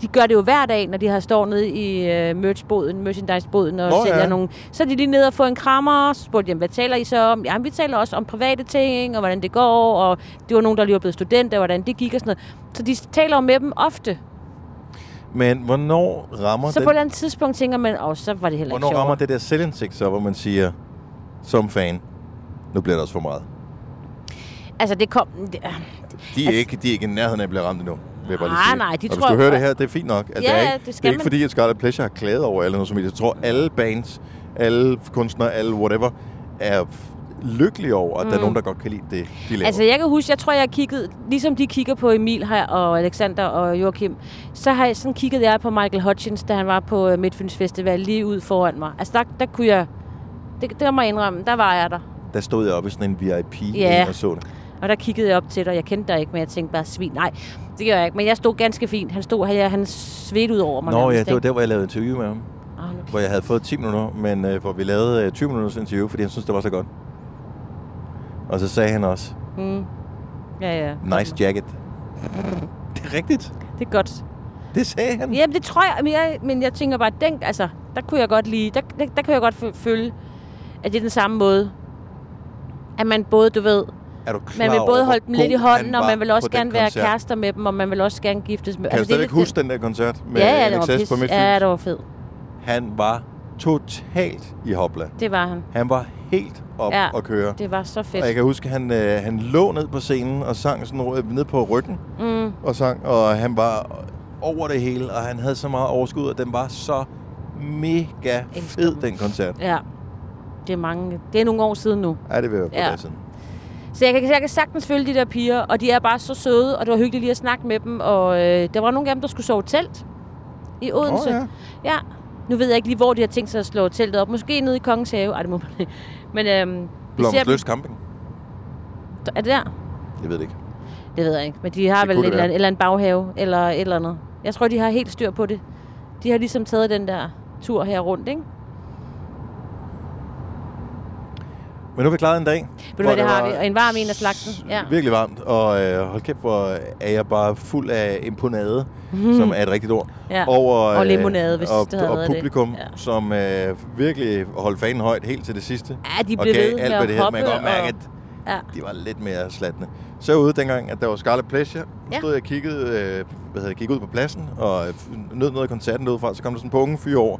Speaker 2: De gør det jo hver dag, når de har står nede i øh, merchboden, merchandiseboden og
Speaker 1: Nå,
Speaker 2: sælger
Speaker 1: ja.
Speaker 2: nogle. Så er de lige nede og får en krammer, så spurgte de, hvad taler I så om? Jamen, vi taler også om private ting, og hvordan det går, og det var nogen, der lige var blevet studenter, og hvordan det gik og sådan noget. Så de taler jo med dem ofte.
Speaker 1: Men hvornår rammer,
Speaker 2: Så
Speaker 1: den,
Speaker 2: på et eller andet tidspunkt tænker man, åh, så var det heller ikke
Speaker 1: hvornår rammer
Speaker 2: sjovere.
Speaker 1: det der selvindsigt så, hvor man siger, som fan, nu bliver det også for meget.
Speaker 2: Altså, det kom... Det,
Speaker 1: De er, ikke, de er ikke i nærheden af at blive ramt endnu. Vil jeg bare lige
Speaker 2: Altså- Nej,
Speaker 1: sige.
Speaker 2: nej, de
Speaker 1: og
Speaker 2: tror
Speaker 1: hvis du
Speaker 2: jo-
Speaker 1: hører det her, det er fint nok. Altså,
Speaker 2: Ja,
Speaker 1: det er
Speaker 2: ja,
Speaker 1: ikke,
Speaker 2: det
Speaker 1: det
Speaker 2: skal
Speaker 1: er ikke
Speaker 2: man.
Speaker 1: fordi, at Scarlet Pleasure har klaget over alle noget som helst. Jeg tror, alle bands, alle kunstnere, alle whatever, er f- lykkelige over, at mm. der er nogen, der godt kan lide det, de laver.
Speaker 2: Altså, jeg kan huske, jeg tror, jeg kiggede, ligesom de kigger på Emil her, og Alexander og Joachim, så har jeg sådan kigget jeg på Michael Hutchins, da han var på øh, Midtfyns Festival, lige ud foran mig. Altså, der, der kunne jeg, det, det må jeg indrømme, der var jeg der.
Speaker 1: Der stod jeg oppe i sådan en VIP
Speaker 2: Ja.
Speaker 1: og så det.
Speaker 2: Og der kiggede jeg op til dig, jeg kendte dig ikke, men jeg tænkte bare, svin, nej, det gør jeg ikke. Men jeg stod ganske fint, han stod her, han svedte ud over mig.
Speaker 1: Nå
Speaker 2: nærmest,
Speaker 1: ja, det var
Speaker 2: ikke?
Speaker 1: der, hvor jeg lavede interview med ham.
Speaker 2: Åh, nu-
Speaker 1: Hvor jeg havde fået 10 minutter, men øh, hvor vi lavede øh, 20 minutters interview, fordi han syntes, det var så godt. Og så sagde han også,
Speaker 2: Ja, ja.
Speaker 1: nice jacket. det er rigtigt.
Speaker 2: Det er godt.
Speaker 1: Det sagde han.
Speaker 2: Mm. Jamen, det tror jeg, men jeg, men jeg tænker bare, den, altså, der kunne jeg godt lide, der, der, der kunne jeg godt fø- føle, at det er den samme måde. At man både, du ved,
Speaker 1: Er du klar
Speaker 2: man vil
Speaker 1: over,
Speaker 2: både
Speaker 1: hvor
Speaker 2: holde dem lidt i
Speaker 1: god
Speaker 2: hånden,
Speaker 1: han
Speaker 2: og
Speaker 1: var
Speaker 2: man vil også
Speaker 1: på den
Speaker 2: gerne være
Speaker 1: koncert?
Speaker 2: kærester med dem, og man vil også gerne giftes med
Speaker 1: Kan altså, du
Speaker 2: det er
Speaker 1: stadigvæk
Speaker 2: lidt
Speaker 1: huske den der koncert med
Speaker 2: ja, ja, det var
Speaker 1: Alexis på
Speaker 2: pis.
Speaker 1: mit
Speaker 2: Ja, det var fed.
Speaker 1: Han var totalt i hopla.
Speaker 2: Det var han.
Speaker 1: Han var helt op
Speaker 2: Ja,
Speaker 1: at køre.
Speaker 2: Det var så fedt.
Speaker 1: Og jeg kan huske, han, øh, han lå ned på scenen og sang sådan øh, ned på ryggen. Mm. Og sang, og han var over det hele, og han havde så meget overskud, og den var så mega
Speaker 2: Elsker
Speaker 1: fed,
Speaker 2: den.
Speaker 1: den koncert.
Speaker 2: Ja. Det er, mange, det er nogle år siden nu.
Speaker 1: Ja, det vil jeg på
Speaker 2: Ja.
Speaker 1: ja. siden.
Speaker 2: Så jeg kan, jeg kan sagtens følge de der piger, og de er bare så søde, og det var hyggeligt lige at snakke med dem. Og øh, der var nogle af dem, der skulle sove i telt i Odense.
Speaker 1: Åh, ja.
Speaker 2: ja. Nu ved jeg ikke lige, hvor de har tænkt sig at slå teltet op. Måske nede i Kongens Have. Ej, det må man ikke. Men øhm, vi ser dem.
Speaker 1: Blomsløs Camping.
Speaker 2: Er det der?
Speaker 1: Jeg ved det ikke.
Speaker 2: Det ved jeg ikke. Men de har
Speaker 1: Det
Speaker 2: vel
Speaker 1: kunne
Speaker 2: et
Speaker 1: det
Speaker 2: eller,
Speaker 1: være.
Speaker 2: andet, eller en baghave, eller et eller andet. Jeg tror, de har helt styr på det. De har ligesom taget den der tur her rundt, ikke?
Speaker 1: Men nu har vi klaret en dag.
Speaker 2: Ved du
Speaker 1: hvor
Speaker 2: hvad, det
Speaker 1: der
Speaker 2: har
Speaker 1: var
Speaker 2: vi. Og en varm en af slagsen. Ja.
Speaker 1: Virkelig varmt, og øh, hold kæft, hvor er jeg bare fuld af imponade, som er et rigtigt ord,
Speaker 2: Mhm. Ja.
Speaker 1: over øh,
Speaker 2: Og limonade, hvis
Speaker 1: og,
Speaker 2: det havde
Speaker 1: og
Speaker 2: været det.
Speaker 1: publikum,
Speaker 2: Ja.
Speaker 1: som øh, virkelig holdt fanen højt helt til det sidste.
Speaker 2: Ja, de
Speaker 1: og
Speaker 2: blev
Speaker 1: gav alt,
Speaker 2: ved med
Speaker 1: hvad
Speaker 2: at
Speaker 1: det havde. Man kan
Speaker 2: hoppe
Speaker 1: godt mærke,
Speaker 2: og-
Speaker 1: at
Speaker 2: Ja.
Speaker 1: de var lidt mere slatne. Så ude dengang, at der var Scarlet Pleasure,
Speaker 2: Ja.
Speaker 1: ja. stod jeg og kiggede, øh, hvad hedder, det, gik ud på pladsen, og øh, nød noget af koncerten derude fra, så kom der sådan en par unge fyre over,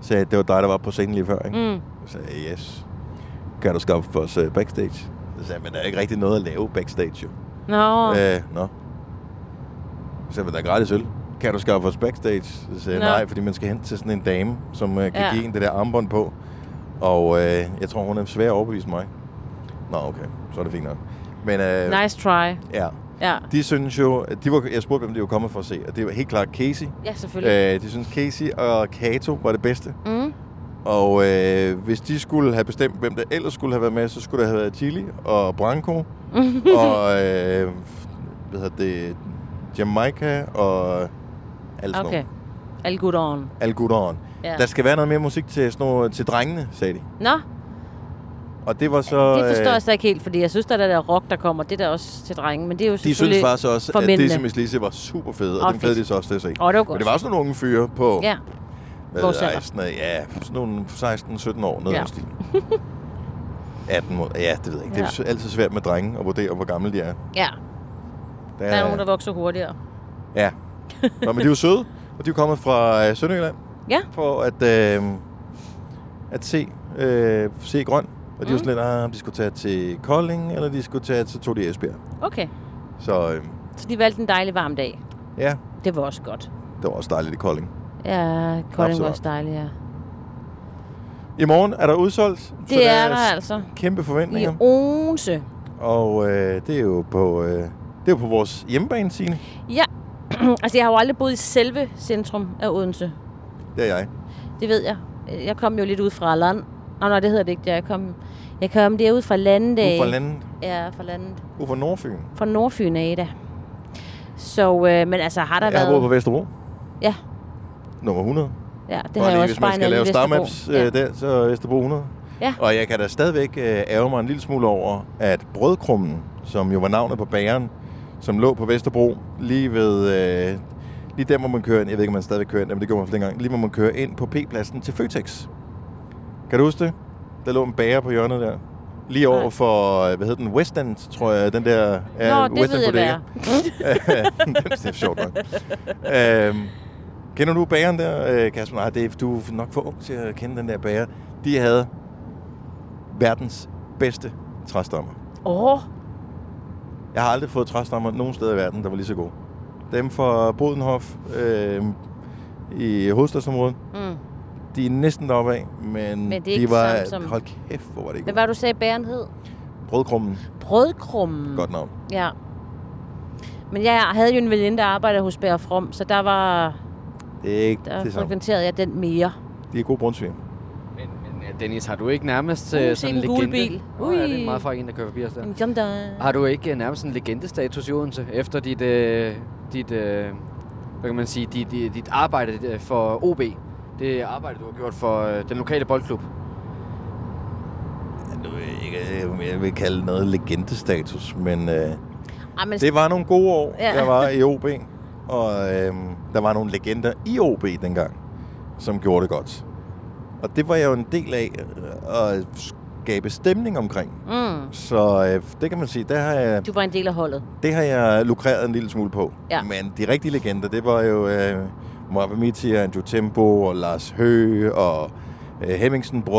Speaker 1: sagde, at det var dig, der var på scenen lige før, ikke? Mm. Så sagde jeg, yes, kan du skaffe for os øh, backstage? Så sagde jeg, men der er ikke rigtig noget at lave backstage, jo.
Speaker 2: Nå.
Speaker 1: Øh, nå. Så sagde, jeg, men der er gratis øl. Kan du skaffe os backstage? Så sagde jeg,
Speaker 2: Nå.
Speaker 1: nej, fordi man skal hen til sådan en dame, som øh, kan
Speaker 2: Ja.
Speaker 1: ja. give en det der armbånd på. Og øh, jeg tror, hun er svær at overbevise mig. Nå, okay. Så er det fint nok. Men øh,
Speaker 2: Nice try.
Speaker 1: ja,
Speaker 2: Ja.
Speaker 1: de synes jo... at De var, jeg spurgte, hvem de var kommet for at se, og det var helt klart Casey.
Speaker 2: Ja, selvfølgelig.
Speaker 1: Øh, de synes, Casey og Kato var det bedste.
Speaker 2: Mm.
Speaker 1: Og øh, hvis de skulle have bestemt, hvem der ellers skulle have været med, så skulle der have været Chili og Branco og øh, hvad hedder det, Jamaica og alt sådan
Speaker 2: Okay.
Speaker 1: okay.
Speaker 2: All good on.
Speaker 1: Al Guderen.
Speaker 2: Ja.
Speaker 1: Ja. Der skal være noget mere musik til, sådan nogle, til drengene, sagde de.
Speaker 2: Nå,
Speaker 1: Og det var så...
Speaker 2: det forstår
Speaker 1: øh,
Speaker 2: jeg så ikke helt, fordi jeg synes, der er det der rock, der kommer. Det er der også til drenge, men det er jo
Speaker 1: de
Speaker 2: selvfølgelig
Speaker 1: synes faktisk også,
Speaker 2: for
Speaker 1: at
Speaker 2: mændene.
Speaker 1: det som Lise var super fede, og,
Speaker 2: Åh,
Speaker 1: og dem glædede de
Speaker 2: fedt.
Speaker 1: sig også til at se.
Speaker 2: Åh, det var godt.
Speaker 1: Men det var sådan nogle unge fyre på,
Speaker 2: Ja,
Speaker 1: hvad
Speaker 2: vores
Speaker 1: ved jeg,
Speaker 2: alder.
Speaker 1: sådan noget, ja, sådan nogle 16-17 år, noget
Speaker 2: Ja.
Speaker 1: ja. stil. 18 måneder. Ja, det ved jeg ikke. Det er
Speaker 2: Ja.
Speaker 1: altid svært med drenge at vurdere, hvor gamle de er.
Speaker 2: ja.
Speaker 1: Der,
Speaker 2: Der er nogen, der vokser hurtigere.
Speaker 1: Ja. Nå, men de er jo søde, og de er kommet fra øh, Sønderjylland
Speaker 2: Ja,
Speaker 1: for at, øh, at se, øh, se grøn. Og de
Speaker 2: Mm.
Speaker 1: var sådan lidt, ah, om de skulle tage til Kolding, eller de skulle tage til Tog de Esbjerg.
Speaker 2: okay.
Speaker 1: Så øh,
Speaker 2: Så de valgte en dejlig varm dag.
Speaker 1: ja,
Speaker 2: Det var også godt.
Speaker 1: det var også dejligt i Kolding.
Speaker 2: Ja, Kolding var
Speaker 1: Absolut.
Speaker 2: også dejlig, ja.
Speaker 1: I morgen er der udsolgt. så
Speaker 2: Det er der
Speaker 1: s-
Speaker 2: altså.
Speaker 1: Kæmpe
Speaker 2: I
Speaker 1: forventninger.
Speaker 2: Odense.
Speaker 1: Og øh, det er jo på... Øh, det er jo på vores hjemmebane, Signe.
Speaker 2: Ja, altså jeg har jo aldrig boet i selve centrum af Odense.
Speaker 1: Det er jeg.
Speaker 2: Det ved jeg. Jeg kom jo lidt ud fra land. Nå, nej, det hedder det ikke. Jeg kom, jeg kom derud fra landet.
Speaker 1: Ude fra landet.
Speaker 2: Ja, fra landet.
Speaker 1: Ude fra Nordfyn.
Speaker 2: Fra Nordfyn af da. Så, øh, men altså har der
Speaker 1: Jeg har
Speaker 2: været...
Speaker 1: boet på Vesterbro.
Speaker 2: Ja,
Speaker 1: Nummer 100.
Speaker 2: ja, det
Speaker 1: Bare
Speaker 2: har jeg
Speaker 1: lige,
Speaker 2: også
Speaker 1: hvis man skal
Speaker 2: spejlet
Speaker 1: lave
Speaker 2: i Vesterbro.
Speaker 1: starmaps øh,
Speaker 2: ja.
Speaker 1: der, så er Vesterbro 100.
Speaker 2: Ja.
Speaker 1: Og jeg kan da stadigvæk øh, ærge mig en lille smule over, at brødkrummen, som jo var navnet på bageren, som lå på Vesterbro, lige ved... Øh, lige der, hvor man kører ind. Jeg ved ikke, om man stadigvæk kører ind, men det gjorde man for dengang. Lige hvor man kører ind på P-pladsen til Føtex. Kan du huske det? Der lå en bager på hjørnet der. Lige over
Speaker 2: Nej.
Speaker 1: for, øh, hvad hedder den, West End, tror jeg, den der
Speaker 2: Nå, det
Speaker 1: West
Speaker 2: ved
Speaker 1: End
Speaker 2: jeg, hvad
Speaker 1: Bodega.
Speaker 2: er.
Speaker 1: det er sjovt nok. Øhm, kender du bageren der, øh, Kasper? Nej, det er, du er nok for ung til at kende den der bager. De havde verdens bedste træstammer.
Speaker 2: Åh,
Speaker 1: Jeg har aldrig fået træstammer nogen steder i verden, der var lige så gode. Dem fra Bodenhof øh, i hovedstadsområdet,
Speaker 2: Mm.
Speaker 1: de er næsten deroppe af, men,
Speaker 2: det er ikke
Speaker 1: de var...
Speaker 2: det samme som-
Speaker 1: Hold kæft, hvor var det ikke
Speaker 2: hvad
Speaker 1: var...
Speaker 2: var det, du sagde, bæren hed?
Speaker 1: Brødkrummen,
Speaker 2: Brødkrummen.
Speaker 1: godt navn.
Speaker 2: Ja. Men jeg havde jo en veninde, der arbejdede hos Bær From, så der var
Speaker 1: Det er ikke det,
Speaker 2: der
Speaker 1: det samme.
Speaker 2: frekventerede jeg den mere.
Speaker 1: De er gode brunsvin.
Speaker 3: Men, men øh, Dennis, har du ikke nærmest
Speaker 2: Uh,
Speaker 3: uh,
Speaker 2: se
Speaker 3: sådan
Speaker 2: den
Speaker 3: en
Speaker 2: gule
Speaker 3: legende?
Speaker 2: bil.
Speaker 3: Nå ja, det
Speaker 2: Ui.
Speaker 3: er meget fra en, der kører forbi os der.
Speaker 2: En jam der-
Speaker 3: Har du ikke øh, nærmest en legendestatus i Odense, efter dit, øh, dit øh, hvad kan man sige, dit, dit, dit arbejde øh, for OB? Det arbejde, du har gjort for øh, den lokale boldklub.
Speaker 1: Jeg ved ikke, om jeg vil kalde noget legendestatus, men... Øh,
Speaker 2: Ej, men
Speaker 1: Det var nogle gode år,
Speaker 2: Ja.
Speaker 1: ja. jeg var i OB. Og øhm, der var nogle legender i OB dengang, som gjorde det godt. Og det var jeg jo en del af øh, at skabe stemning omkring.
Speaker 2: Mm.
Speaker 1: Så øh, det kan man sige, der har jeg,
Speaker 2: Du var en del af holdet.
Speaker 1: det har jeg lukreret en lille smule på.
Speaker 2: Ja.
Speaker 1: Men de rigtige legender, det var jo øh, Moabamiti og Andrew Tempo og Lars Høgh og øh,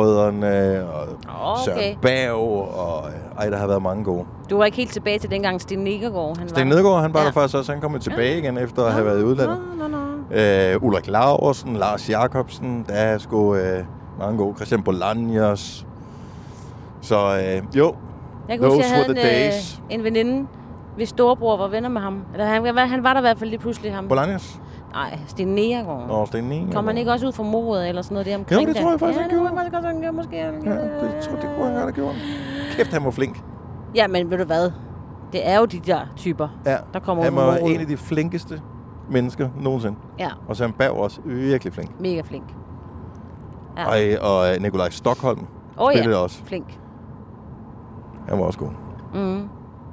Speaker 1: Hemmingsen-brødrene og
Speaker 2: Åh, okay.
Speaker 1: Søren Berg. Og, øh, ej, der har været mange gode.
Speaker 2: Du var ikke helt tilbage til dengang Sten Negergaard, han
Speaker 1: Sten
Speaker 2: var.
Speaker 1: Nedergaard, han var
Speaker 2: Ja.
Speaker 1: ja. der faktisk også. Han kom jo tilbage igen, efter at have været i udlandet.
Speaker 2: Nå, nå,
Speaker 1: Øh, Ulrik Laversen, Lars Jakobsen, der er sgu øh, mange gode. Christian Bolanjos. Så øh, jo,
Speaker 2: Jeg kan huske,
Speaker 1: Those
Speaker 2: jeg
Speaker 1: were
Speaker 2: havde en,
Speaker 1: the
Speaker 2: øh,
Speaker 1: days.
Speaker 2: en veninde, hvis storebror var venner med ham. Eller han, han var der i hvert fald lige pludselig ham.
Speaker 1: Bolanjos.
Speaker 2: Nej, Sten Neergaard.
Speaker 1: Nå, Sten Neergaard.
Speaker 2: Kom han ikke også ud fra mordet eller sådan noget der omkring
Speaker 1: Jo, det
Speaker 2: der?
Speaker 1: tror jeg faktisk,
Speaker 2: ja,
Speaker 1: han
Speaker 2: det
Speaker 1: gjorde.
Speaker 2: kunne jeg faktisk godt, han gjorde måske. øh,
Speaker 1: Ja, det, tror, det kunne han godt have gjort. Kæft, han var flink.
Speaker 2: Ja, men ved du hvad? Det er jo de der typer,
Speaker 1: Ja,
Speaker 2: der kommer
Speaker 1: han
Speaker 2: ud fra
Speaker 1: var
Speaker 2: mordet.
Speaker 1: en af de flinkeste mennesker nogensinde.
Speaker 2: Ja,
Speaker 1: Og Søren Berg var også virkelig flink.
Speaker 2: mega flink. Ja.
Speaker 1: Ja. Og, og øh, Nikolaj Stockholm
Speaker 2: Åh
Speaker 1: spillede
Speaker 2: ja,
Speaker 1: også.
Speaker 2: flink.
Speaker 1: Han var også god.
Speaker 2: Mm.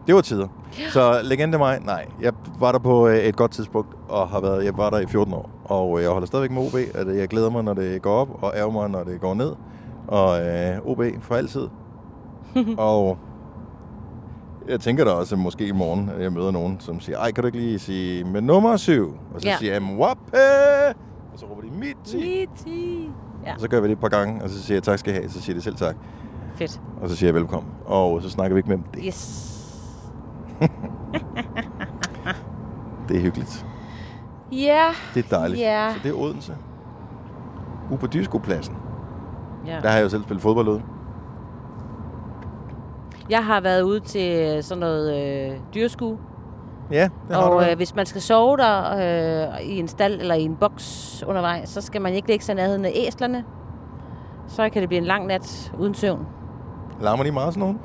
Speaker 1: Det var tider. Så legende mig, nej. Jeg var der på øh, et godt tidspunkt, og har været, jeg var der i 14 år. Og øh, jeg holder stadigvæk med OB, og det- jeg glæder mig, når det går op, og ærger mig, når det går ned. Og øh, OB for altid. og jeg tænker da også, at måske i morgen, at jeg møder nogen, som siger, ej, kan du ikke lige sige med nummer syv? Og så
Speaker 2: Ja.
Speaker 1: ja. siger jeg, "Mwappe!" Og så råber de, mit ti.
Speaker 2: Miti. Ja,
Speaker 1: Og så gør vi det et par gange, og så siger jeg, tak skal I have. Så siger de selv tak.
Speaker 2: fedt.
Speaker 1: Og så siger jeg, velkommen. Og så snakker vi ikke med dem. Det,
Speaker 2: Yes.
Speaker 1: det er hyggeligt.
Speaker 2: Ja.
Speaker 1: Det er dejligt.
Speaker 2: Ja.
Speaker 1: Så det er Odense. Ude på Dyskopladsen.
Speaker 2: ja.
Speaker 1: Der har jeg jo selv spillet fodbold ude.
Speaker 2: Jeg har været ude til sådan noget øh, dyrskue.
Speaker 1: Ja, det har du.
Speaker 2: Og
Speaker 1: vel.
Speaker 2: øh, hvis man skal sove der øh, i en stald eller i en boks undervejs, så skal man ikke lægge sig i nærheden af æslerne. Så kan det blive en lang nat uden søvn.
Speaker 1: Larmer de meget sådan nogen?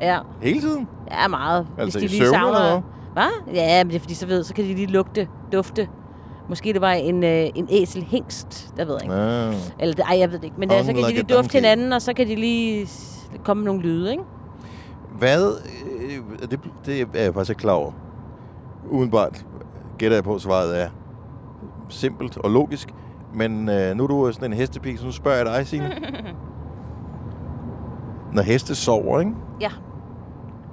Speaker 2: Ja,
Speaker 1: Hele tiden?
Speaker 2: ja meget.
Speaker 1: Altså i søvne, eller
Speaker 2: Hvad? Ja, men det er fordi, så ved, så kan de lige lugte, dufte. Måske det var en, øh, en æselhingst, der ved jeg ikke.
Speaker 1: Ja.
Speaker 2: Eller, det- ej, jeg ved det ikke. Men ja, så
Speaker 1: Hung
Speaker 2: kan de
Speaker 1: like
Speaker 2: lige
Speaker 1: a
Speaker 2: dufte
Speaker 1: donkey.
Speaker 2: hinanden, og så kan de lige s- komme med nogle lyde, ikke?
Speaker 1: Hvad? øh, Det, det er jeg faktisk ikke klar over. Udenbart gætter jeg på, at svaret er simpelt og logisk. Men øh, nu er du sådan en hestepige, så nu spørger jeg dig, Signe. Når heste sover, ikke?
Speaker 2: Ja.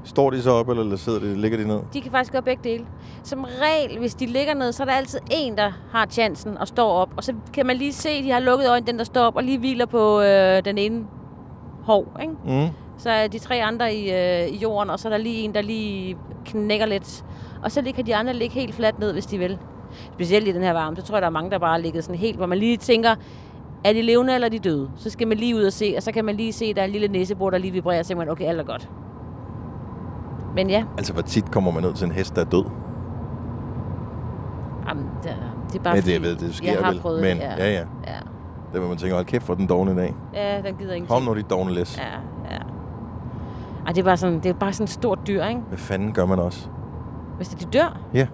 Speaker 1: Står de så op, eller sidder de, ligger de ned?
Speaker 2: De kan faktisk gøre begge dele. Som regel, hvis de ligger ned, så er der altid en, der har chancen og står op. Og så kan man lige se, at de har lukket øjnene, den der står op, og lige hviler på øh, den ene hov. Ikke?
Speaker 1: Mm.
Speaker 2: Så er de tre andre i, øh, i jorden, og så er der lige en, der lige knækker lidt. Og så lige kan de andre ligge helt fladt ned, hvis de vil. Specielt i den her varme, så tror jeg, der er mange, der bare har ligget sådan helt, hvor man lige tænker, er de levende eller er de døde? Så skal man lige ud og se, og så kan man lige se, at der er en lille næsebord, der lige vibrerer, så tænker man, okay, alt er godt. Men ja,
Speaker 1: Altså, hvor tit kommer man ud til en hest, der er død?
Speaker 2: Jamen, det, er- det er bare
Speaker 1: Ja,
Speaker 2: fordi,
Speaker 1: det, ved, det sker
Speaker 2: jeg har
Speaker 1: vel.
Speaker 2: prøvet
Speaker 1: men,
Speaker 2: det. Ja.
Speaker 1: ja, ja.
Speaker 2: ja.
Speaker 1: Det vil man tænke, hold kæft for den dogne i dag.
Speaker 2: ja, den gider ikke.
Speaker 1: Kom nu, de dogne læs. Ja.
Speaker 2: Ja, ja. Ej, det er bare sådan, det er bare sådan et stort dyr, ikke?
Speaker 1: Hvad fanden gør man også?
Speaker 2: Hvis de dør,
Speaker 1: Ja,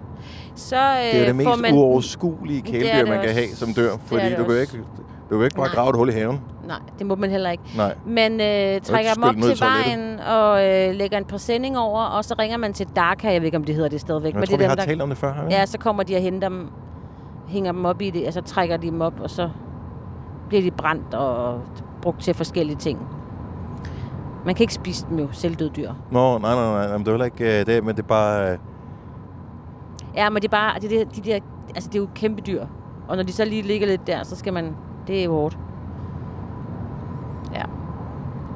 Speaker 2: så øh,
Speaker 1: det er jo det
Speaker 2: får
Speaker 1: mest
Speaker 2: man...
Speaker 1: uoverskuelige
Speaker 2: Det er
Speaker 1: kæledyr,
Speaker 2: det
Speaker 1: man kan
Speaker 2: også.
Speaker 1: have som dør.
Speaker 2: Det er
Speaker 1: Fordi
Speaker 2: det
Speaker 1: du kan jo
Speaker 2: også.
Speaker 1: ikke, du kan jo ikke bare
Speaker 2: Nej.
Speaker 1: grave et hul i haven.
Speaker 2: Nej, det må man heller ikke.
Speaker 1: Nej.
Speaker 2: Man øh, trækker dem
Speaker 1: skylle
Speaker 2: op
Speaker 1: dem ned i
Speaker 2: til vejen og øh, lægger en præsending over, og så ringer man til Darka, jeg ved ikke, om det hedder det stadigvæk.
Speaker 1: Men jeg tror,
Speaker 2: det
Speaker 1: vi
Speaker 2: er
Speaker 1: har
Speaker 2: dem,
Speaker 1: talt om det før. Har vi?
Speaker 2: Ja, så kommer de og henter dem, hænger dem op i det, og så trækker de dem op, og så bliver de brændt og brugt til forskellige ting. Man kan ikke spise dem jo, selvdøde dyr.
Speaker 1: Nå, nej, nej, nej. Jamen, det er heller ikke øh, det, men det er bare... øh,
Speaker 2: Ja, men det er bare, det er det, de der, altså det er jo kæmpe dyr. Og når de så lige ligger lidt der, så skal man, det er jo hårdt. Ja.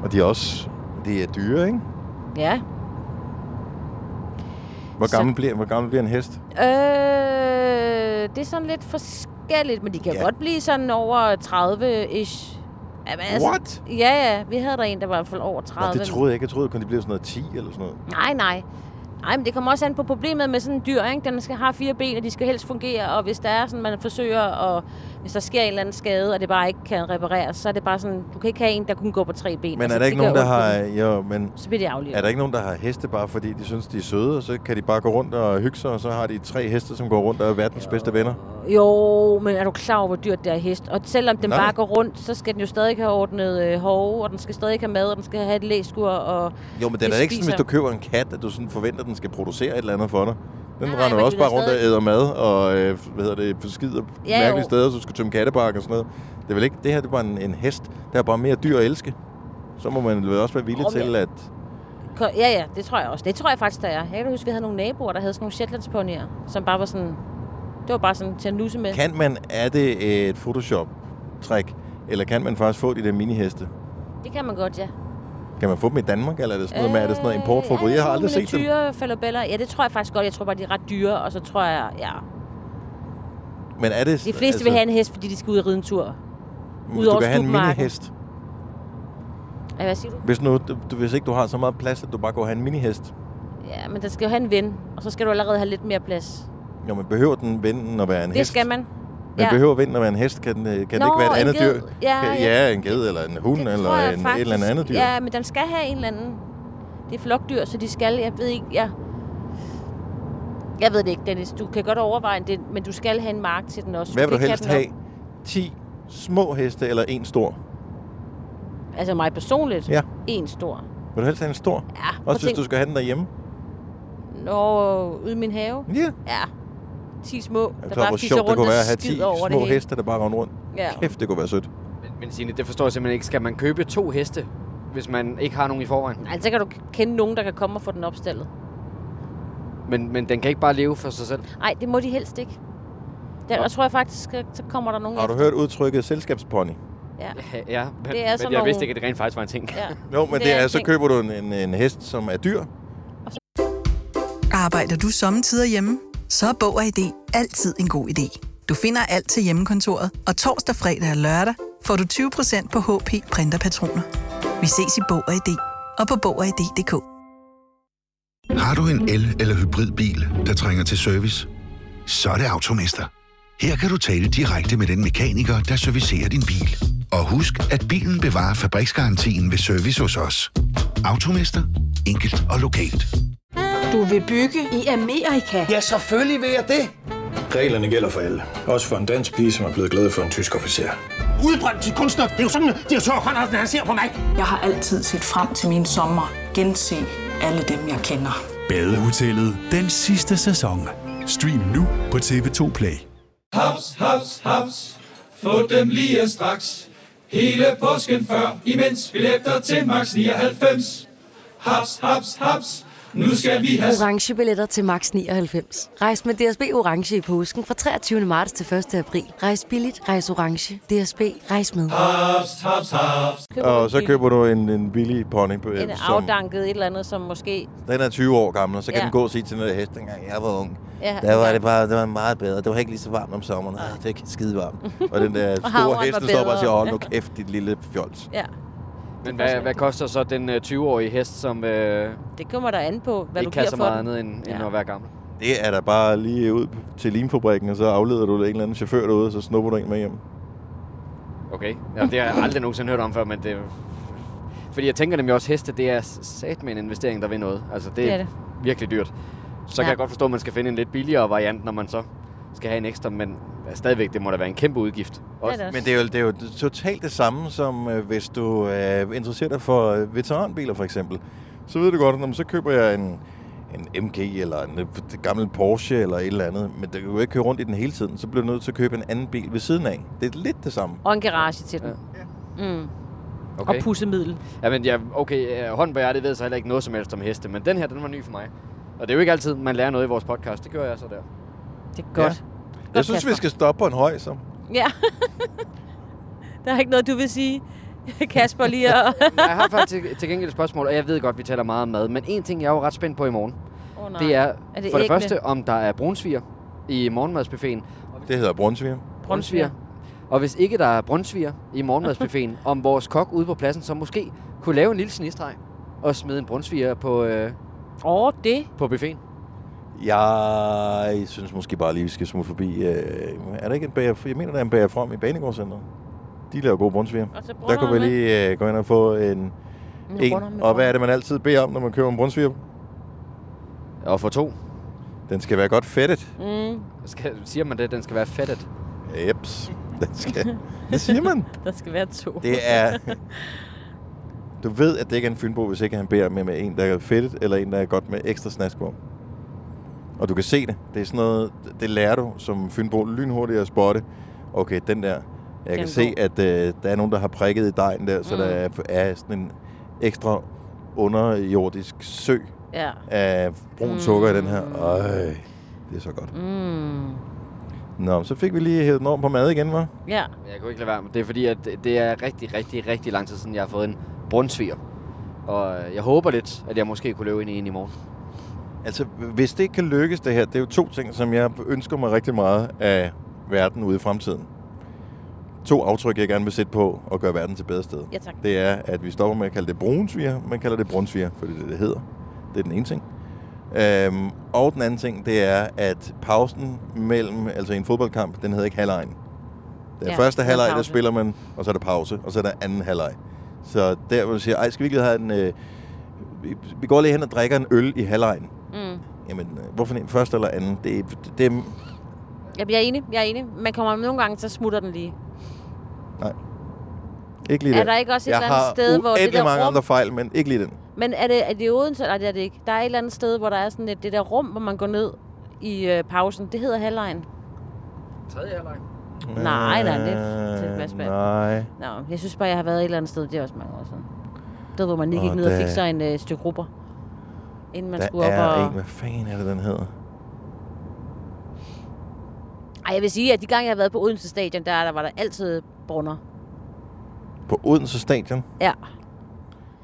Speaker 1: Og de er også... Det er dyre, ikke?
Speaker 2: Ja.
Speaker 1: Hvor
Speaker 2: Så-
Speaker 1: gammel, bliver, hvor gammel bliver en hest?
Speaker 2: Øh, det er sådan lidt forskelligt, men de kan
Speaker 1: Ja.
Speaker 2: ja. godt blive sådan over 30-ish. Jamen, altså-
Speaker 1: What?
Speaker 2: Ja, ja. Vi havde der en, der var i hvert fald over 30.
Speaker 1: Nå, det troede jeg ikke. Jeg troede kun, de blev sådan noget 10 eller sådan noget.
Speaker 2: Nej, nej. Nej, men det kommer også an på problemet med sådan en dyr, ikke? Den skal have fire ben, og de skal helst fungere, og hvis der er sådan, man forsøger, og hvis der sker en eller anden skade, og det bare ikke kan repareres, så er det bare sådan, du kan ikke have en, der kun går på tre ben. Altså,
Speaker 1: Men er der ikke
Speaker 2: det
Speaker 1: nogen,
Speaker 2: gør
Speaker 1: der har... øh,
Speaker 2: ondt på
Speaker 1: Jo, men
Speaker 2: dem. Så bliver det aflivet.
Speaker 1: Er der ikke nogen, der har heste bare fordi de synes, de er søde, og så kan de bare gå rundt og hygge sig, og så har de tre heste, som går rundt og er verdens bedste venner?
Speaker 2: Jo, men er du klar over, hvor dyrt det er hest? Og selvom den
Speaker 1: Nej.
Speaker 2: Nej. bare går rundt, så skal den jo stadig have ordnet øh, hove, og den skal stadig have mad, og den skal have et læskur, og...
Speaker 1: Jo, men det er
Speaker 2: de
Speaker 1: da ikke sådan, hvis
Speaker 2: spiser-
Speaker 1: du køber en kat, at du sådan forventer, at den skal producere et eller andet for dig. Den
Speaker 2: Nej,
Speaker 1: Nej, render
Speaker 2: men
Speaker 1: også
Speaker 2: de vil
Speaker 1: bare rundt og
Speaker 2: stadig-
Speaker 1: æder mad, og øh, hvad hedder det, skider ja,
Speaker 2: Ja,
Speaker 1: mærkelige
Speaker 2: jo.
Speaker 1: steder, så du skal tømme kattebakke og sådan noget. Det er vel ikke, det her det er bare en, en hest, der er bare mere dyr at elske. Så må man vel også være villig
Speaker 2: Åh, men-
Speaker 1: til, at...
Speaker 2: Ko- Ja, ja, det tror jeg også. Det tror jeg faktisk, der er. Jeg kan huske, vi havde nogle naboer, der havde sådan nogle Shetlandsponier, som bare var sådan... Det var bare sådan til at nusse med.
Speaker 1: Kan man, er det et Photoshop-trick, eller kan man faktisk få de der miniheste?
Speaker 2: Det kan man godt, ja.
Speaker 1: Kan man få dem i Danmark, eller er det sådan noget med, er det sådan noget
Speaker 2: Øh,
Speaker 1: importforbud? Jeg har aldrig set dem.
Speaker 2: dem. Ja, det tror jeg faktisk godt. Jeg tror bare, de er ret dyre, og så tror jeg, ja...
Speaker 1: Men er det...
Speaker 2: De fleste altså, vil have en hest, fordi de skal ud og ride en tur.
Speaker 1: hvis
Speaker 2: ud
Speaker 1: du
Speaker 2: over
Speaker 1: kan have en
Speaker 2: slutmarken.
Speaker 1: minihest.
Speaker 2: Ej, hvad siger du?
Speaker 1: Hvis, nu, du- du, hvis ikke du har så meget plads, at du bare går og have en minihest,
Speaker 2: Ja, men der skal jo have en ven, og så skal du allerede have lidt mere plads.
Speaker 1: jo, men behøver den vinden at være en
Speaker 2: Det
Speaker 1: hest?
Speaker 2: skal man.
Speaker 1: Men behøver vinden at være en hest? Kan, den, øh, kan det
Speaker 2: Nå,
Speaker 1: ikke være et
Speaker 2: en
Speaker 1: andet
Speaker 2: ged.
Speaker 1: dyr?
Speaker 2: Ja,
Speaker 1: kan,
Speaker 2: ja.
Speaker 1: ja, en ged eller en hund
Speaker 2: Det
Speaker 1: eller
Speaker 2: tror jeg
Speaker 1: en, et
Speaker 2: faktisk.
Speaker 1: eller andet dyr.
Speaker 2: Ja, men den skal have en eller anden. Det er flokdyr, så de skal. Jeg ved ikke, jeg... Jeg ved det ikke, Dennis. Du kan godt overveje det, men du skal have en mark til den også.
Speaker 1: Hvad vil
Speaker 2: Det
Speaker 1: du
Speaker 2: kan
Speaker 1: helst
Speaker 2: den nok.
Speaker 1: have? 10 små heste eller en stor?
Speaker 2: Altså mig personligt?
Speaker 1: Ja.
Speaker 2: En stor.
Speaker 1: Vil du helst have en stor?
Speaker 2: Ja, prøv at
Speaker 1: Også hvis
Speaker 2: tænk.
Speaker 1: du skal have den derhjemme?
Speaker 2: Nå, ude i min have?
Speaker 1: Ja. Yeah.
Speaker 2: Ja. 10 små,
Speaker 1: Jeg er
Speaker 2: der
Speaker 1: klar,
Speaker 2: bare
Speaker 1: hvor
Speaker 2: fisser
Speaker 1: sjovt det
Speaker 2: rundt
Speaker 1: kunne
Speaker 2: og
Speaker 1: være at have 10
Speaker 2: skider over det
Speaker 1: små
Speaker 2: hele.
Speaker 1: heste, der bare render rundt.
Speaker 2: Ja.
Speaker 1: Kæft, det kunne være sødt.
Speaker 3: Men, men Signe, det forstår jeg simpelthen ikke. Skal man købe to heste, hvis man ikke har nogen i forvejen?
Speaker 2: Nej, så Altså, kan du kende nogen, der kan komme og få den opstillet.
Speaker 3: Men, men den kan ikke bare leve for sig selv.
Speaker 2: Nej, det må de helst ikke. Der,
Speaker 3: Nå.
Speaker 2: jeg tror jeg faktisk, at så kommer der nogen
Speaker 1: Har du
Speaker 2: efter.
Speaker 1: hørt udtrykket selskabspony?
Speaker 2: Ja.
Speaker 3: Ja, men,
Speaker 2: Det er
Speaker 3: men jeg
Speaker 2: sådan
Speaker 3: vidste
Speaker 2: nogle-
Speaker 3: ikke, at det rent faktisk var en ting.
Speaker 2: ja.
Speaker 1: Jo, men det, det er,
Speaker 2: en
Speaker 1: så
Speaker 2: ting.
Speaker 1: køber du en, en, en hest, som er dyr.
Speaker 9: Arbejder du sommetider hjemme? Så er Bog og ID altid en god idé. Du finder alt til hjemmekontoret, og torsdag, fredag og lørdag får du 20% på HP Printerpatroner. Vi ses i Bog og ID og på Bog og ID.dk.
Speaker 10: Har du en el- eller hybridbil, der trænger til service? Så er det Automester. Her kan du tale direkte med den mekaniker, der servicerer din bil. Og husk, at bilen bevarer fabriksgarantien ved service hos os. Automester. Enkelt og lokalt.
Speaker 11: Du vil bygge i Amerika? Ja.
Speaker 12: Reglerne gælder for alle. Også for en dansk pige, som er blevet glad for en tysk officer.
Speaker 11: Udbrændt til kunstner. Det er jo sådan, at de har tørt, han ser på mig. Jeg har altid set frem til min sommer. Gense alle dem, jeg kender.
Speaker 13: Badehotellet den sidste sæson. Stream nu på TV2 Play.
Speaker 14: Haps, haps, haps. Få dem lige straks. Hele påsken før, imens billetter til max 99. Haps, haps, haps. Nu skal vi have...
Speaker 15: orange billetter til max 99. Rejs med DSB orange i påsken fra 23. marts til 1. april. Rejs billigt, rejs orange. DSB rejs med.
Speaker 14: Haps, haps, haps.
Speaker 1: og så køber du en, en billig pony, øh,
Speaker 2: En
Speaker 1: som
Speaker 2: afdanket et eller andet, som måske...
Speaker 1: den er 20 år gammel, og så kan
Speaker 2: Ja.
Speaker 1: den gå og sige til den der hest, dengang jeg var ung.
Speaker 2: Ja.
Speaker 1: Der var det bare det var meget bedre. Det var ikke lige så varmt om sommeren. Ah, det er ikke skide varmt. Og den der
Speaker 2: Og
Speaker 1: store
Speaker 2: havren
Speaker 1: hest,
Speaker 2: var
Speaker 1: der står bare og siger,
Speaker 2: bedre.
Speaker 1: åh, nu kæft, dit lille fjols.
Speaker 2: Ja,
Speaker 3: Men hvad, hvad koster så den øh, 20-årige hest, som øh,
Speaker 2: det kommer der an på, hvad
Speaker 3: ikke
Speaker 2: du
Speaker 3: kan
Speaker 2: giver for
Speaker 3: så meget
Speaker 2: den.
Speaker 3: andet end, end
Speaker 2: Ja.
Speaker 3: at være gammel?
Speaker 1: Det er da bare lige ud til limfabrikken, og så afleder du en eller anden chauffør derude, og så snupper du en med hjem.
Speaker 3: Okay. Ja, det har jeg aldrig nogensinde hørt om før, men det... Fordi jeg tænker nemlig også, heste, det er sat med en investering, der vil noget. Altså, det,
Speaker 2: Det
Speaker 3: er
Speaker 2: er det.
Speaker 3: virkelig dyrt.
Speaker 2: Ja.
Speaker 3: Så ja. kan jeg godt forstå, at man skal finde en lidt billigere variant, når man så skal have en ekstra, men stadigvæk, det må da være en kæmpe udgift. Også.
Speaker 2: det er
Speaker 1: Men det er, jo, det er jo totalt det samme, som øh, hvis du øh, interesserer dig for øh, veteranbiler for eksempel. Så ved du godt, når så køber jeg en, en MG eller en øh, gammel Porsche eller et eller andet, men du kan jo ikke køre rundt i den hele tiden, så bliver du nødt til at købe en anden bil ved siden af. Det er lidt det samme.
Speaker 2: Og en garage til den. Mm. Okay. Og pussemiddel.
Speaker 3: Ja, men ja, okay, øh, hånden på hjertet ved så heller ikke noget som helst om heste, men den her, den var ny for mig. Og det er jo ikke altid, man lærer noget i vores podcast. Det gør jeg så der.
Speaker 2: Det er godt.
Speaker 1: Jeg synes, vi
Speaker 2: Kasper.
Speaker 1: skal stoppe på en høj, så.
Speaker 2: Ja. der er ikke noget, du vil sige, Kasper, lige at...
Speaker 3: Men jeg har faktisk til, til gengæld et spørgsmål, og jeg ved godt, vi taler meget om mad, men en ting, jeg er jo ret spændt på i morgen,
Speaker 2: oh,
Speaker 3: det er,
Speaker 2: er det
Speaker 3: for det
Speaker 2: æggene?
Speaker 3: første, om der er brunsviger i morgenmadsbuffeten.
Speaker 1: Det hedder Brunsviger.
Speaker 3: Brunsviger. Og hvis ikke der er brunsviger i morgenmadsbuffeten, om vores kok ude på pladsen, så måske kunne lave en lille snistreg og smide en brunsviger på, øh,
Speaker 2: Åh, oh, det.
Speaker 3: på buffeten.
Speaker 1: Jeg synes måske bare lige, vi skal smutte forbi. Øh, er der ikke en bager? Jeg mener, der er en bager frem i Banegårdscenteret. De laver gode brunsviger.
Speaker 2: Og så
Speaker 1: Der kunne vi
Speaker 2: brødrene.
Speaker 1: lige øh, gå ind og få en...
Speaker 2: runder
Speaker 1: en.
Speaker 2: med
Speaker 1: Og hvad
Speaker 2: brød.
Speaker 1: er det, man altid beder om, når man køber en brunsviger?
Speaker 3: Og for to.
Speaker 1: Den skal være godt fedtet.
Speaker 2: Mm,
Speaker 3: Skal, siger man det, den skal være fedtet.
Speaker 1: Jeps. Den skal... Det siger man.
Speaker 2: der skal være to.
Speaker 1: Det er... Du ved, at det ikke er en fynbo, hvis ikke han beder med, med en, der er fedtet, eller en, der er godt med ekstra snask på. Og du kan se det. Det er sådan noget, det lærer du som fynbo lynhurtigt at spotte. Okay, den der. Jeg
Speaker 2: Den
Speaker 1: kan
Speaker 2: er
Speaker 1: se, at
Speaker 2: god.
Speaker 1: øh, der er nogen, der har prikket i dejen der, så mm. der er, er sådan en ekstra underjordisk sø
Speaker 2: Ja.
Speaker 1: af brun sukker i den her. Øj, det er så godt.
Speaker 2: Mm.
Speaker 1: Nå, så fik vi lige hævet den over på mad igen, var?
Speaker 2: Ja.
Speaker 3: Jeg kunne ikke lade være med det, er fordi, at det er rigtig, rigtig, rigtig lang tid siden, jeg har fået en brunsviger. Og øh, jeg håber lidt, at jeg måske kunne løbe ind i en i morgen.
Speaker 1: Altså, hvis det ikke kan lykkes det her, det er jo to ting, som jeg ønsker mig rigtig meget af verden ude i fremtiden. To aftryk, jeg gerne vil sætte på og gøre verden til et bedre sted.
Speaker 2: Ja, tak.
Speaker 1: Det er, at vi stopper med at kalde det brunsviger, man kalder det brunsviger, for det er det, det hedder. Det er den ene ting. Øhm, og den anden ting, det er, at pausen mellem, altså i en fodboldkamp, den hedder ikke halvlejen. Den
Speaker 16: Ja,
Speaker 1: ja, første
Speaker 16: det er
Speaker 1: halvleg, der
Speaker 16: pause.
Speaker 1: spiller man, og så er der pause, og så er der anden halvleg. Så der, hvor du siger, ej, skal vi ikke lige have en... Øh, vi- vi går lige hen og drikker en øl i halvlejen.
Speaker 2: Mm.
Speaker 1: Jamen, øh, hvorfor en første eller anden? Det, det, det
Speaker 2: Jamen, Jeg er enig, jeg er enig. Man kommer nogle gange, så smutter den lige.
Speaker 1: nej. Ikke lige
Speaker 2: Er
Speaker 1: den.
Speaker 2: der ikke også et
Speaker 1: jeg
Speaker 2: eller andet sted, hvor det
Speaker 1: Jeg
Speaker 2: der
Speaker 1: har mange
Speaker 2: rum-
Speaker 1: andre fejl, men ikke lige den.
Speaker 2: Men er det, er det i Odense? Nej, det er det ikke. Der er et eller andet sted, hvor der er sådan et, det der rum, hvor man går ned i øh, pausen. Det hedder halvlejen.
Speaker 3: Tredje halvleg.
Speaker 2: Nej, nej, det er til Mads Band.
Speaker 1: Øh, Nej.
Speaker 2: Nå, jeg synes bare, jeg har været et eller andet sted. Det er også mange år siden. Der, hvor man lige
Speaker 1: Åh,
Speaker 2: gik ned og
Speaker 1: der-
Speaker 2: fik sig en øh, stykke grupper. Inden man
Speaker 1: der
Speaker 2: skulle op
Speaker 1: er
Speaker 2: og...
Speaker 1: en, hvad fanden er det, den hedder?
Speaker 2: Ej, jeg vil sige, at de gange, jeg har været på Odense Stadion, der, der var der altid brunner.
Speaker 1: På Odense Stadion.
Speaker 2: Ja.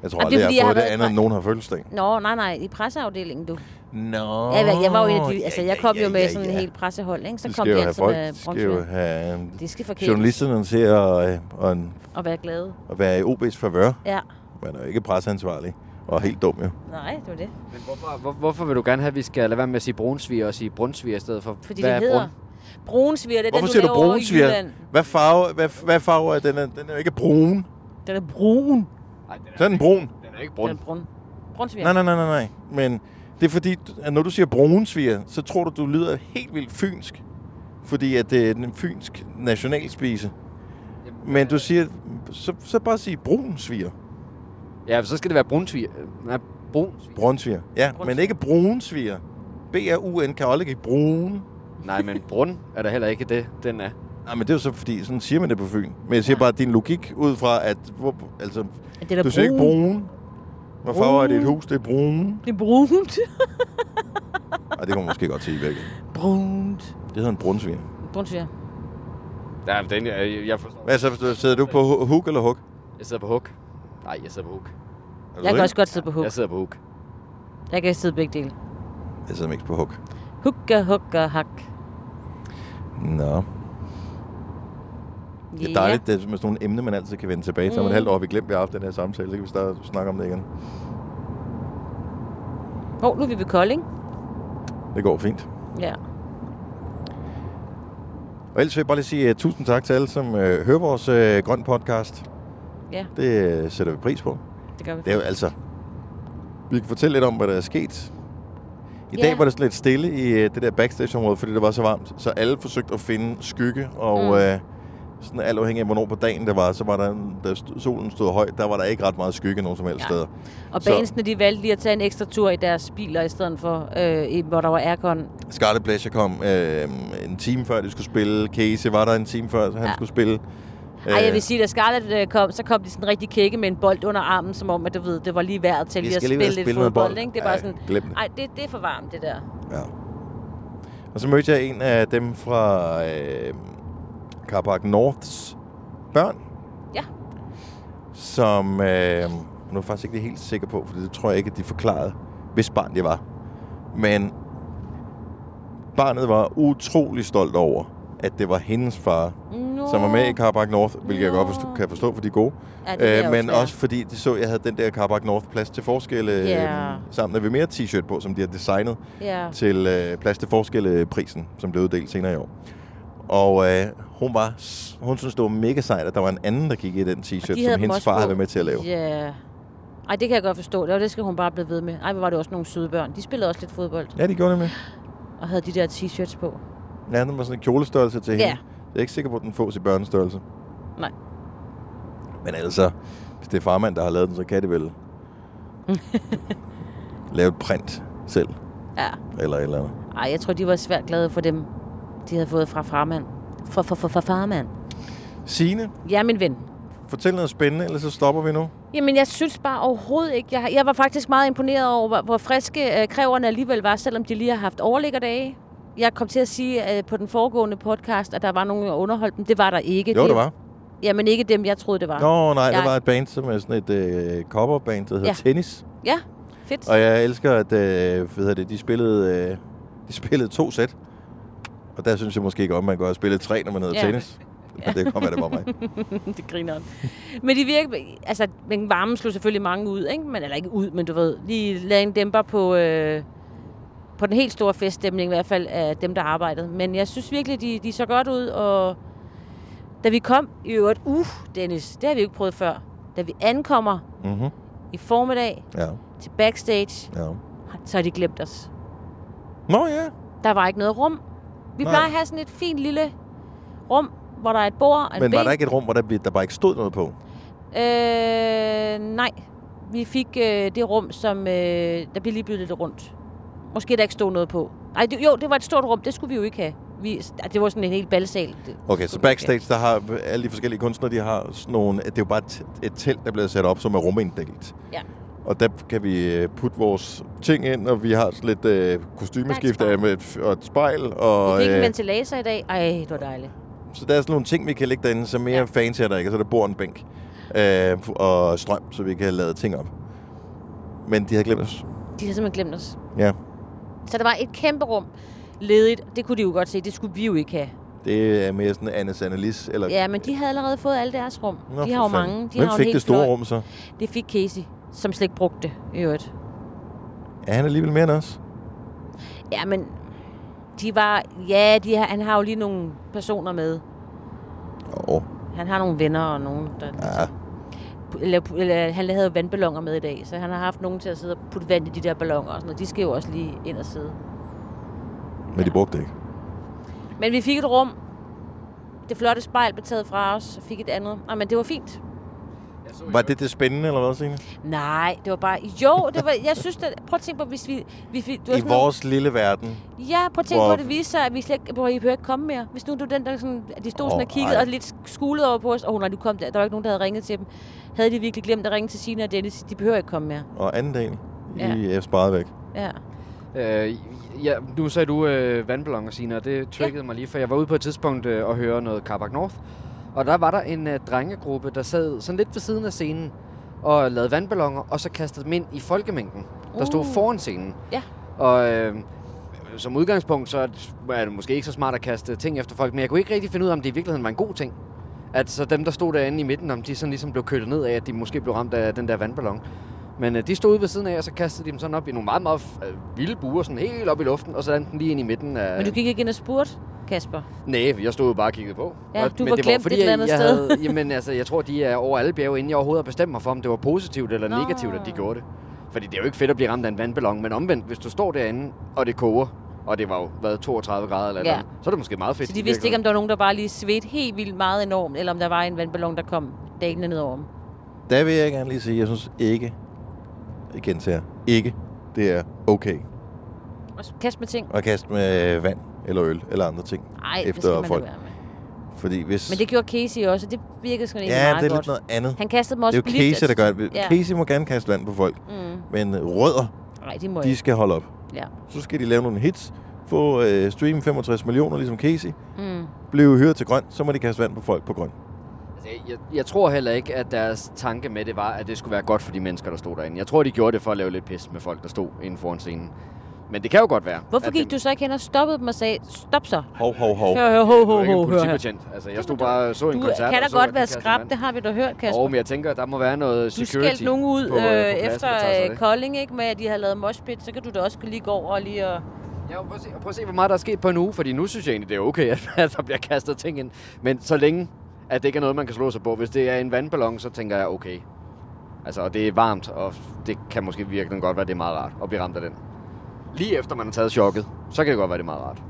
Speaker 1: Jeg tror
Speaker 2: Jamen,
Speaker 1: aldrig,
Speaker 2: det er
Speaker 1: jeg
Speaker 2: fordi,
Speaker 1: har
Speaker 2: jeg har
Speaker 1: fået det
Speaker 2: været-
Speaker 1: andet, end nogen har fødselsdag.
Speaker 2: Nå, nej, nej, i presseafdelingen, du.
Speaker 1: Nå.
Speaker 2: Oh, jeg, var- jeg var jo en af de...
Speaker 1: ja,
Speaker 2: Altså, jeg kom
Speaker 1: ja,
Speaker 2: jo med
Speaker 1: ja,
Speaker 2: sådan en
Speaker 1: ja.
Speaker 2: helt pressehold, ikke? Så
Speaker 1: De
Speaker 2: kom
Speaker 1: skal
Speaker 2: øh,
Speaker 1: jo
Speaker 2: de
Speaker 1: have
Speaker 2: altid
Speaker 1: folk, de skal
Speaker 2: med
Speaker 1: jo
Speaker 2: bronzevinder.
Speaker 1: have øh,
Speaker 2: De skal forkæles.
Speaker 1: journalisterne til at, øh, og en,
Speaker 2: Og være glade.
Speaker 1: at være i OB's favør.
Speaker 2: Ja.
Speaker 1: Man er jo ikke presseansvarlig. Og helt dum, jo.
Speaker 2: Nej, det var det.
Speaker 3: Men hvorfor, hvor, hvorfor vil du gerne have, at vi skal lade være med at sige brunsviger og sige brunsviger i stedet for?
Speaker 2: Fordi det hedder... Brunsviger, det er
Speaker 1: Hvorfor
Speaker 2: den,
Speaker 1: siger du
Speaker 2: laver over i
Speaker 1: brunsviger?
Speaker 2: Jylland.
Speaker 1: Hvad farve, hvad, hvad farve er den? Er- Den er jo ikke brun.
Speaker 2: Den er brun.
Speaker 1: Så er den brun.
Speaker 3: Den er ikke
Speaker 2: brun. Den er brun. Brunsviger.
Speaker 1: Nej, nej, nej, nej, nej. Men det er fordi, at når du siger brunsviger, så tror du, du lyder helt vildt fynsk. Fordi at det er en fynsk nationalspise. Men
Speaker 2: øh,
Speaker 1: du siger, så, så bare sige brunsviger.
Speaker 3: Ja, så skal det være brunsviger. Nej, brunsviger.
Speaker 1: Brunsviger. Ja, men ikke brunsviger. B-R-U-N kan aldrig ikke brun.
Speaker 3: Nej, men brun er der heller ikke det, den er.
Speaker 1: Nej, men det er jo så fordi, sådan siger man det på Fyn. Men jeg siger bare, at din logik ud fra, at... Hvor, altså,
Speaker 2: det er da
Speaker 1: du siger ikke
Speaker 2: brun.
Speaker 1: brun. Hvor farver er det et hus? Det er brun.
Speaker 2: Det er brunt.
Speaker 1: Ej, det kunne man måske godt sige i virkeligheden.
Speaker 2: Brunt.
Speaker 1: Det hedder en brunsviger.
Speaker 2: Brunsviger.
Speaker 3: Ja, men den, jeg, jeg forstår.
Speaker 1: Hvad så? du- Sidder du på hu- hook eller huk?
Speaker 3: Jeg sidder på hook. Nej, jeg sidder på hook.
Speaker 2: Jeg kan også godt sidde på hook.
Speaker 3: Jeg sidder på hook.
Speaker 2: Jeg kan sidde begge dele.
Speaker 1: Jeg sidder mest på huk.
Speaker 2: Hukka, hukka, hak.
Speaker 1: Nå. Det er dejligt, det er med sådan nogle emne, man altid kan vende tilbage til. Om et
Speaker 2: Mm.
Speaker 1: halvt år har vi glemt, at vi har haft den her samtale. Så kan vi starte og snakke om det igen.
Speaker 2: Hov, nu er vi ved Kolding.
Speaker 1: Det går fint.
Speaker 2: Ja.
Speaker 1: Og ellers vil jeg bare lige sige uh, tusind tak til alle, som uh, hører vores uh, grøn podcast.
Speaker 2: Ja.
Speaker 1: Det uh, sætter vi pris på.
Speaker 2: Det gør vi.
Speaker 1: Det er jo altså... Vi kan fortælle lidt om, hvad der er sket. I
Speaker 2: Ja.
Speaker 1: dag var det sådan lidt stille i øh, det der backstage-område, fordi det var så varmt. Så alle forsøgte at finde skygge, og
Speaker 2: Mm.
Speaker 1: mm. øh, sådan alt afhængig af, hvornår på dagen det var, så var der, en- da st- solen stod højt, der var der ikke ret meget skygge nogen som helst steder.
Speaker 2: Og
Speaker 1: så
Speaker 2: bandsene, de valgte lige at tage en ekstra tur i deres biler, i stedet for, øh, i- hvor der var aircon.
Speaker 1: Scarlet Pleasure kom øh, en time før, de skulle spille. Casey var der en time før, han ja. skulle spille. Øh,
Speaker 2: Ej, jeg vil sige, da Scarlett øh, kom, så kom de sådan rigtig kække med en bold under armen, som om, at du ved, det var lige værd til
Speaker 1: Vi
Speaker 2: lige at
Speaker 1: skal
Speaker 2: spille,
Speaker 1: lige ud og
Speaker 2: lidt
Speaker 1: spille noget
Speaker 2: fodbold.
Speaker 1: bold.
Speaker 2: Ikke? Det er
Speaker 1: Ej,
Speaker 2: bare sådan,
Speaker 1: glem det.
Speaker 2: Ej, det, det er for varmt, det der.
Speaker 1: Og så mødte jeg en af dem fra øh, Carpark Norths børn,
Speaker 2: Ja.
Speaker 1: som... Øh, nu er jeg faktisk ikke lige helt sikker på, for det tror jeg ikke, at de forklarede, hvis barn det var. Men barnet var utrolig stolt over, at det var hendes far,
Speaker 2: Nå.
Speaker 1: som var med i Carpark North, hvilket jeg godt forstå, kan forstå, for de er gode.
Speaker 2: Ja, det vil jeg også
Speaker 1: Øh, men
Speaker 2: være.
Speaker 1: også fordi de så, at jeg havde den der Carpark North plads til forskelle
Speaker 2: Ja.
Speaker 1: yeah. sammen med mere t-shirt på, som de har designet
Speaker 2: Ja.
Speaker 1: til øh, plads til forskelle prisen, som blev uddelt senere i år. Og øh, hun, var, s- hun syntes, det var mega sejt, at der var en anden, der gik i den
Speaker 2: De
Speaker 1: t-shirt,
Speaker 2: havde
Speaker 1: som
Speaker 2: dem
Speaker 1: hendes
Speaker 2: også
Speaker 1: far
Speaker 2: på.
Speaker 1: havde været med til at lave.
Speaker 2: Ja. Yeah. Ej, det kan jeg godt forstå. Det, var, det skal hun bare blive ved med. Ej, hvor var det også nogle søde børn. De spillede også lidt fodbold.
Speaker 1: Ja, de gjorde det med.
Speaker 2: Og havde de der t-shirts på.
Speaker 1: Ja, den var sådan en kjolestørrelse til
Speaker 2: Ja.
Speaker 1: hende. Jeg er ikke sikker på, at den fås i børnestørrelse.
Speaker 2: Nej.
Speaker 1: Men altså, hvis det er farmand, der har lavet den, så kan det vel lave et print selv.
Speaker 2: Ja.
Speaker 1: Eller et eller andet.
Speaker 2: Ej, jeg tror, de var svært glade for dem, de havde fået fra farmand. Fra, fra, fra, fra farmand.
Speaker 1: Signe,
Speaker 2: Ja, min ven.
Speaker 1: fortæl noget spændende, ellers så stopper vi nu.
Speaker 2: Jamen, jeg synes bare overhovedet ikke. Jeg, har- jeg var faktisk meget imponeret over, hvor, hvor friske øh, kræverne alligevel var, selvom de lige har haft overliggerdage. Jeg kom til at sige øh, på den foregående podcast, at der var nogen, der underholdt dem. Det var der ikke.
Speaker 1: Jo,
Speaker 2: det
Speaker 1: der var.
Speaker 2: Jamen, ikke dem, jeg troede, det var.
Speaker 1: Nå, nej, der
Speaker 2: jeg,
Speaker 1: var et band, som er sådan et øh, coverband, der hedder ja.
Speaker 2: Ja.
Speaker 1: Tennis.
Speaker 2: Ja, fedt.
Speaker 1: Og jeg elsker, at øh, hvad hedder det, de, spillede, øh, de spillede to sæt. Og der synes jeg måske godt, man går og spille tre, når man hedder
Speaker 2: Ja.
Speaker 1: ja. tennis. Men det kommer det var mig.
Speaker 2: det griner han. Men de virker, altså, men varmen slog selvfølgelig mange ud, ikke? Men, eller ikke ud, men du ved, lige lagde en dæmper på, øh, på den helt store feststemning, i hvert fald af dem, der arbejdede. Men jeg synes virkelig, de, de så godt ud, og da vi kom, i øvrigt, uh, Dennis, det har vi jo ikke prøvet før. Da vi ankommer
Speaker 1: Mm-hmm.
Speaker 2: i formiddag
Speaker 1: Ja.
Speaker 2: til backstage,
Speaker 1: ja.
Speaker 2: så har de glemt os.
Speaker 1: Nå ja.
Speaker 2: Der var ikke noget rum. Vi
Speaker 1: Nej.
Speaker 2: plejer at have sådan et fint lille rum, hvor der er et bord og en
Speaker 1: Men var
Speaker 2: bænk.
Speaker 1: der ikke et rum, hvor der, der bare ikke stod noget på?
Speaker 2: Øh, nej. Vi fik øh, det rum, som... Øh, der blev lige byttet lidt rundt. Måske der ikke stod noget på. Ej, det, jo, det var et stort rum. Det skulle vi jo ikke have. Vi, ah, det var sådan en helt balsal. Det,
Speaker 1: Okay, så backstage, der har alle de forskellige kunstnere, de har sådan nogle... Det er jo bare et, et telt, der er blevet sat op, som er ruminddelt.
Speaker 2: ja.
Speaker 1: Og der kan vi øh, putte vores ting ind, og vi har sådan lidt øh, kostymeskift af med et, f- og et spejl. Og,
Speaker 2: Vi fik en
Speaker 1: øh,
Speaker 2: ventilator i dag. Ej, det var dejligt.
Speaker 1: så der er sådan nogle ting, vi kan lægge derinde, som mere ja. fancy er der ikke. Og så er der bord og en bænk øh, og strøm, så vi kan lade ting op. Men de havde glemt os.
Speaker 2: De har simpelthen glemt os.
Speaker 1: Ja,
Speaker 2: Så der var et kæmpe rum ledigt. Det kunne de jo godt se. Det skulle vi jo ikke have.
Speaker 1: det er mere sådan Anne Sannelis. Eller...
Speaker 2: Ja, men de havde allerede fået alle deres rum.
Speaker 1: Nå,
Speaker 2: de
Speaker 1: for
Speaker 2: har jo
Speaker 1: fanden.
Speaker 2: mange. De
Speaker 1: Hvem
Speaker 2: har jo en
Speaker 1: fik
Speaker 2: hel
Speaker 1: det store
Speaker 2: fløj.
Speaker 1: rum så?
Speaker 2: Det fik Casey, som slet ikke brugte det, i øvrigt.
Speaker 1: Er han alligevel mere end os?
Speaker 2: Ja, men de var... Ja, de har, han har jo lige nogle personer med.
Speaker 1: Åh.
Speaker 2: Han har nogle venner og nogen, der...
Speaker 1: Ja.
Speaker 2: Eller, eller, han havde jo vandballoner med i dag, så han har haft nogen til at sidde og putte vand i de der balloner og sådan noget. De skal jo også lige ind og sidde.
Speaker 1: Men de brugte det ikke.
Speaker 2: Men vi fik et rum. Det flotte spejl blev taget fra os, og fik et andet. Nej, men det var fint.
Speaker 1: Var det det spændende, eller hvad, Signe?
Speaker 2: Nej, det var bare... Jo, det var, jeg synes, at, prøv at tænke på, hvis vi... Hvis vi du har
Speaker 1: I
Speaker 2: sådan nogle-
Speaker 1: vores lille verden.
Speaker 2: Ja, prøv at tænke på,
Speaker 1: Hvor-
Speaker 2: at det viser sig, at vi slet ikke, hvor I behøver ikke komme mere. Hvis nu du er den, der sådan, at de stod oh, sådan
Speaker 1: Åh,
Speaker 2: og kiggede
Speaker 1: ej.
Speaker 2: og lidt skulede over på os, og oh, nej, du kom der, der var ikke nogen, der havde ringet til dem. Havde de virkelig glemt at ringe til Sina og Dennis, de behøver ikke komme mere.
Speaker 1: Og anden dagen,
Speaker 2: Ja.
Speaker 1: ja. I er sparet væk.
Speaker 2: Ja.
Speaker 3: Øh, ja, nu sagde du øh, vandballoner, Signe, og det triggede ja. mig lige, for jeg var ude på et tidspunkt øh, og høre noget Carbac North, og der var der en øh, drengegruppe, der sad sådan lidt ved siden af scenen og lavede vandballoner, og så kastede dem ind i folkemængden, der stod
Speaker 2: Uh.
Speaker 3: foran scenen.
Speaker 2: Ja.
Speaker 3: Og øh, som udgangspunkt, så er det måske ikke så smart at kaste ting efter folk, men jeg kunne ikke rigtig finde ud af, om det i virkeligheden var en god ting. At så dem, der stod derinde i midten, om de sådan ligesom blev kølet ned af, at de måske blev ramt af den der vandballon. Men øh, de stod ude ved siden af, og så kastede de dem sådan op i nogle meget, meget øh, vilde buer, sådan helt op i luften, og så landede den lige ind i midten af...
Speaker 2: Men du gik ikke ind og spurgte, Kasper?
Speaker 3: Nej, jeg stod jo bare og kiggede på.
Speaker 2: Ja,
Speaker 3: og,
Speaker 2: du
Speaker 3: men
Speaker 2: var
Speaker 3: det
Speaker 2: glemt
Speaker 3: fordi,
Speaker 2: et eller
Speaker 3: jeg-
Speaker 2: andet
Speaker 3: jeg
Speaker 2: sted.
Speaker 3: Havde, jamen altså, jeg tror, de er over alle bjerge, inden jeg overhovedet har bestemt mig for, om det var positivt eller
Speaker 2: Nå.
Speaker 3: Nå. negativt, at de gjorde det. Fordi det er jo ikke fedt at blive ramt af en vandballon, men omvendt, hvis du står derinde, og det koger, og det var jo været 32 grader eller
Speaker 2: Ja.
Speaker 3: ja. andet, så er det måske meget fedt.
Speaker 2: Så de vidste ikke, om der var nogen, der bare lige svedte helt vildt meget enormt, eller om der var en vandballon, der kom dalende ned over dem.
Speaker 1: Der vil jeg gerne lige sige, jeg synes ikke, igen til jer, ikke, det er okay
Speaker 2: Og kast med ting.
Speaker 1: at kaste med vand eller øl eller andre ting
Speaker 2: Ej, det skal
Speaker 1: efter
Speaker 2: man
Speaker 1: folk.
Speaker 2: lade være med.
Speaker 1: Fordi hvis...
Speaker 2: Men det gjorde Casey også, og det virkede sådan egentlig
Speaker 1: ja,
Speaker 2: meget
Speaker 1: det er
Speaker 2: godt.
Speaker 1: lidt noget andet.
Speaker 2: Han kastede dem også
Speaker 1: Det er jo Casey, der gør det.
Speaker 2: Ja.
Speaker 1: Ja. Casey må gerne kaste vand på folk.
Speaker 2: Mm.
Speaker 1: Men øh, rødder,
Speaker 2: Nej, de må
Speaker 1: de
Speaker 2: ikke.
Speaker 1: skal holde op.
Speaker 2: Ja.
Speaker 1: Så skal de lave nogle hits, få øh, stream 65 millioner, ligesom Casey.
Speaker 2: Mm.
Speaker 1: Blive hyret til grøn, så må de kaste vand på folk på grøn.
Speaker 3: Altså, Jeg, jeg tror heller ikke, at deres tanke med det var, at det skulle være godt for de mennesker, der stod derinde. Jeg tror, de gjorde det for at lave lidt pis med folk, der stod inden foran scenen. Men det kan jo godt være.
Speaker 2: Hvorfor
Speaker 3: at
Speaker 2: gik du så ikke hen og stoppede dem og sagde, stop så?
Speaker 1: Hov, hov, hov.
Speaker 2: Hør, hør, hov,
Speaker 3: Du er
Speaker 2: hov,
Speaker 3: ikke
Speaker 2: hov,
Speaker 3: en
Speaker 2: hør her.
Speaker 3: politibetjent. Altså, jeg stod bare og så en
Speaker 2: Du
Speaker 3: koncert.
Speaker 2: kan da
Speaker 3: og så,
Speaker 2: godt
Speaker 3: at de
Speaker 2: være
Speaker 3: kastede
Speaker 2: skrab,
Speaker 3: vand.
Speaker 2: det har vi da hørt, Kasper.
Speaker 3: Og men jeg tænker, der må være noget
Speaker 2: du
Speaker 3: security.
Speaker 2: skældte nogen ud
Speaker 3: på,
Speaker 2: øh,
Speaker 3: øh, på pladsen,
Speaker 2: efter
Speaker 3: der tager sig af
Speaker 2: øh,
Speaker 3: det.
Speaker 2: Kolding, ikke? Med at de havde lavet moshpit, så kan du da også lige gå over og lige og...
Speaker 3: Ja, prøv at se, prøv at se, hvor meget der er sket på en uge, fordi nu synes jeg egentlig, det er okay, at- at der bliver kastet ting ind. Men så længe, at det ikke er noget, man kan slå sig på. Hvis det er en vandballon, så tænker jeg, okay. Altså, og det er varmt, og det kan måske virkelig godt være, det er meget rart at blive ramt af den. Lige efter man har taget chokket, så kan det godt være, det er meget rart.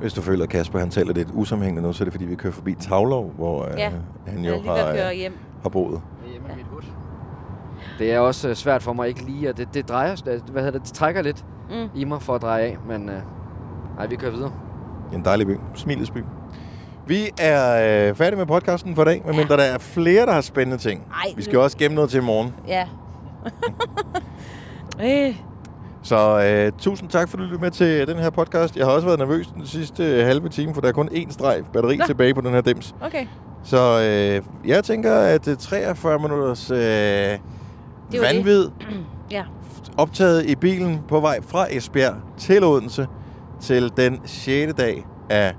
Speaker 1: Hvis du føler, at Kasper han taler lidt usammenhængende nu, så er det fordi, vi kører forbi Tavlov, hvor øh,
Speaker 2: Ja,
Speaker 1: han
Speaker 2: jeg er
Speaker 1: jo
Speaker 2: lige ved at
Speaker 1: har,
Speaker 2: køre
Speaker 1: øh,
Speaker 2: hjem.
Speaker 1: har boet.
Speaker 3: Det er også øh, svært for mig ikke lige, og det, det drejer, hvad hedder det, det trækker lidt
Speaker 2: Mm.
Speaker 3: i mig for at dreje af, men øh, ej, vi kører videre.
Speaker 1: En dejlig by. Smilets by. Vi er øh, færdige med podcasten for i dag, medmindre der er flere, der har spændende ting.
Speaker 2: Ej,
Speaker 1: vi skal
Speaker 2: nu-
Speaker 1: også gemme noget til i morgen.
Speaker 2: Ja. øh.
Speaker 1: Så øh, tusind tak, fordi du lyttede med til den her podcast. Jeg har også været nervøs den sidste øh, halve time, for der er kun én streg batteri
Speaker 2: Nå.
Speaker 1: Nå. tilbage på den her dims.
Speaker 2: Okay.
Speaker 1: Så øh, jeg tænker, at øh, 43 minutters øh,
Speaker 2: jo
Speaker 1: vanvid
Speaker 2: ja.
Speaker 1: optaget i bilen på vej fra Esbjerg til Odense til den 6. dag af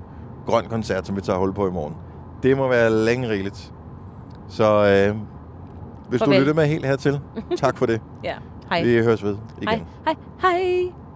Speaker 1: grøn koncert, som vi tager hul på i morgen. Det må være længe rigeligt. Så øh, hvis Farvel.
Speaker 2: Farvel.
Speaker 1: du lytter med helt hertil, tak for det.
Speaker 2: Ja, hej.
Speaker 1: Vi høres ved igen.
Speaker 2: Hej, hej, hej.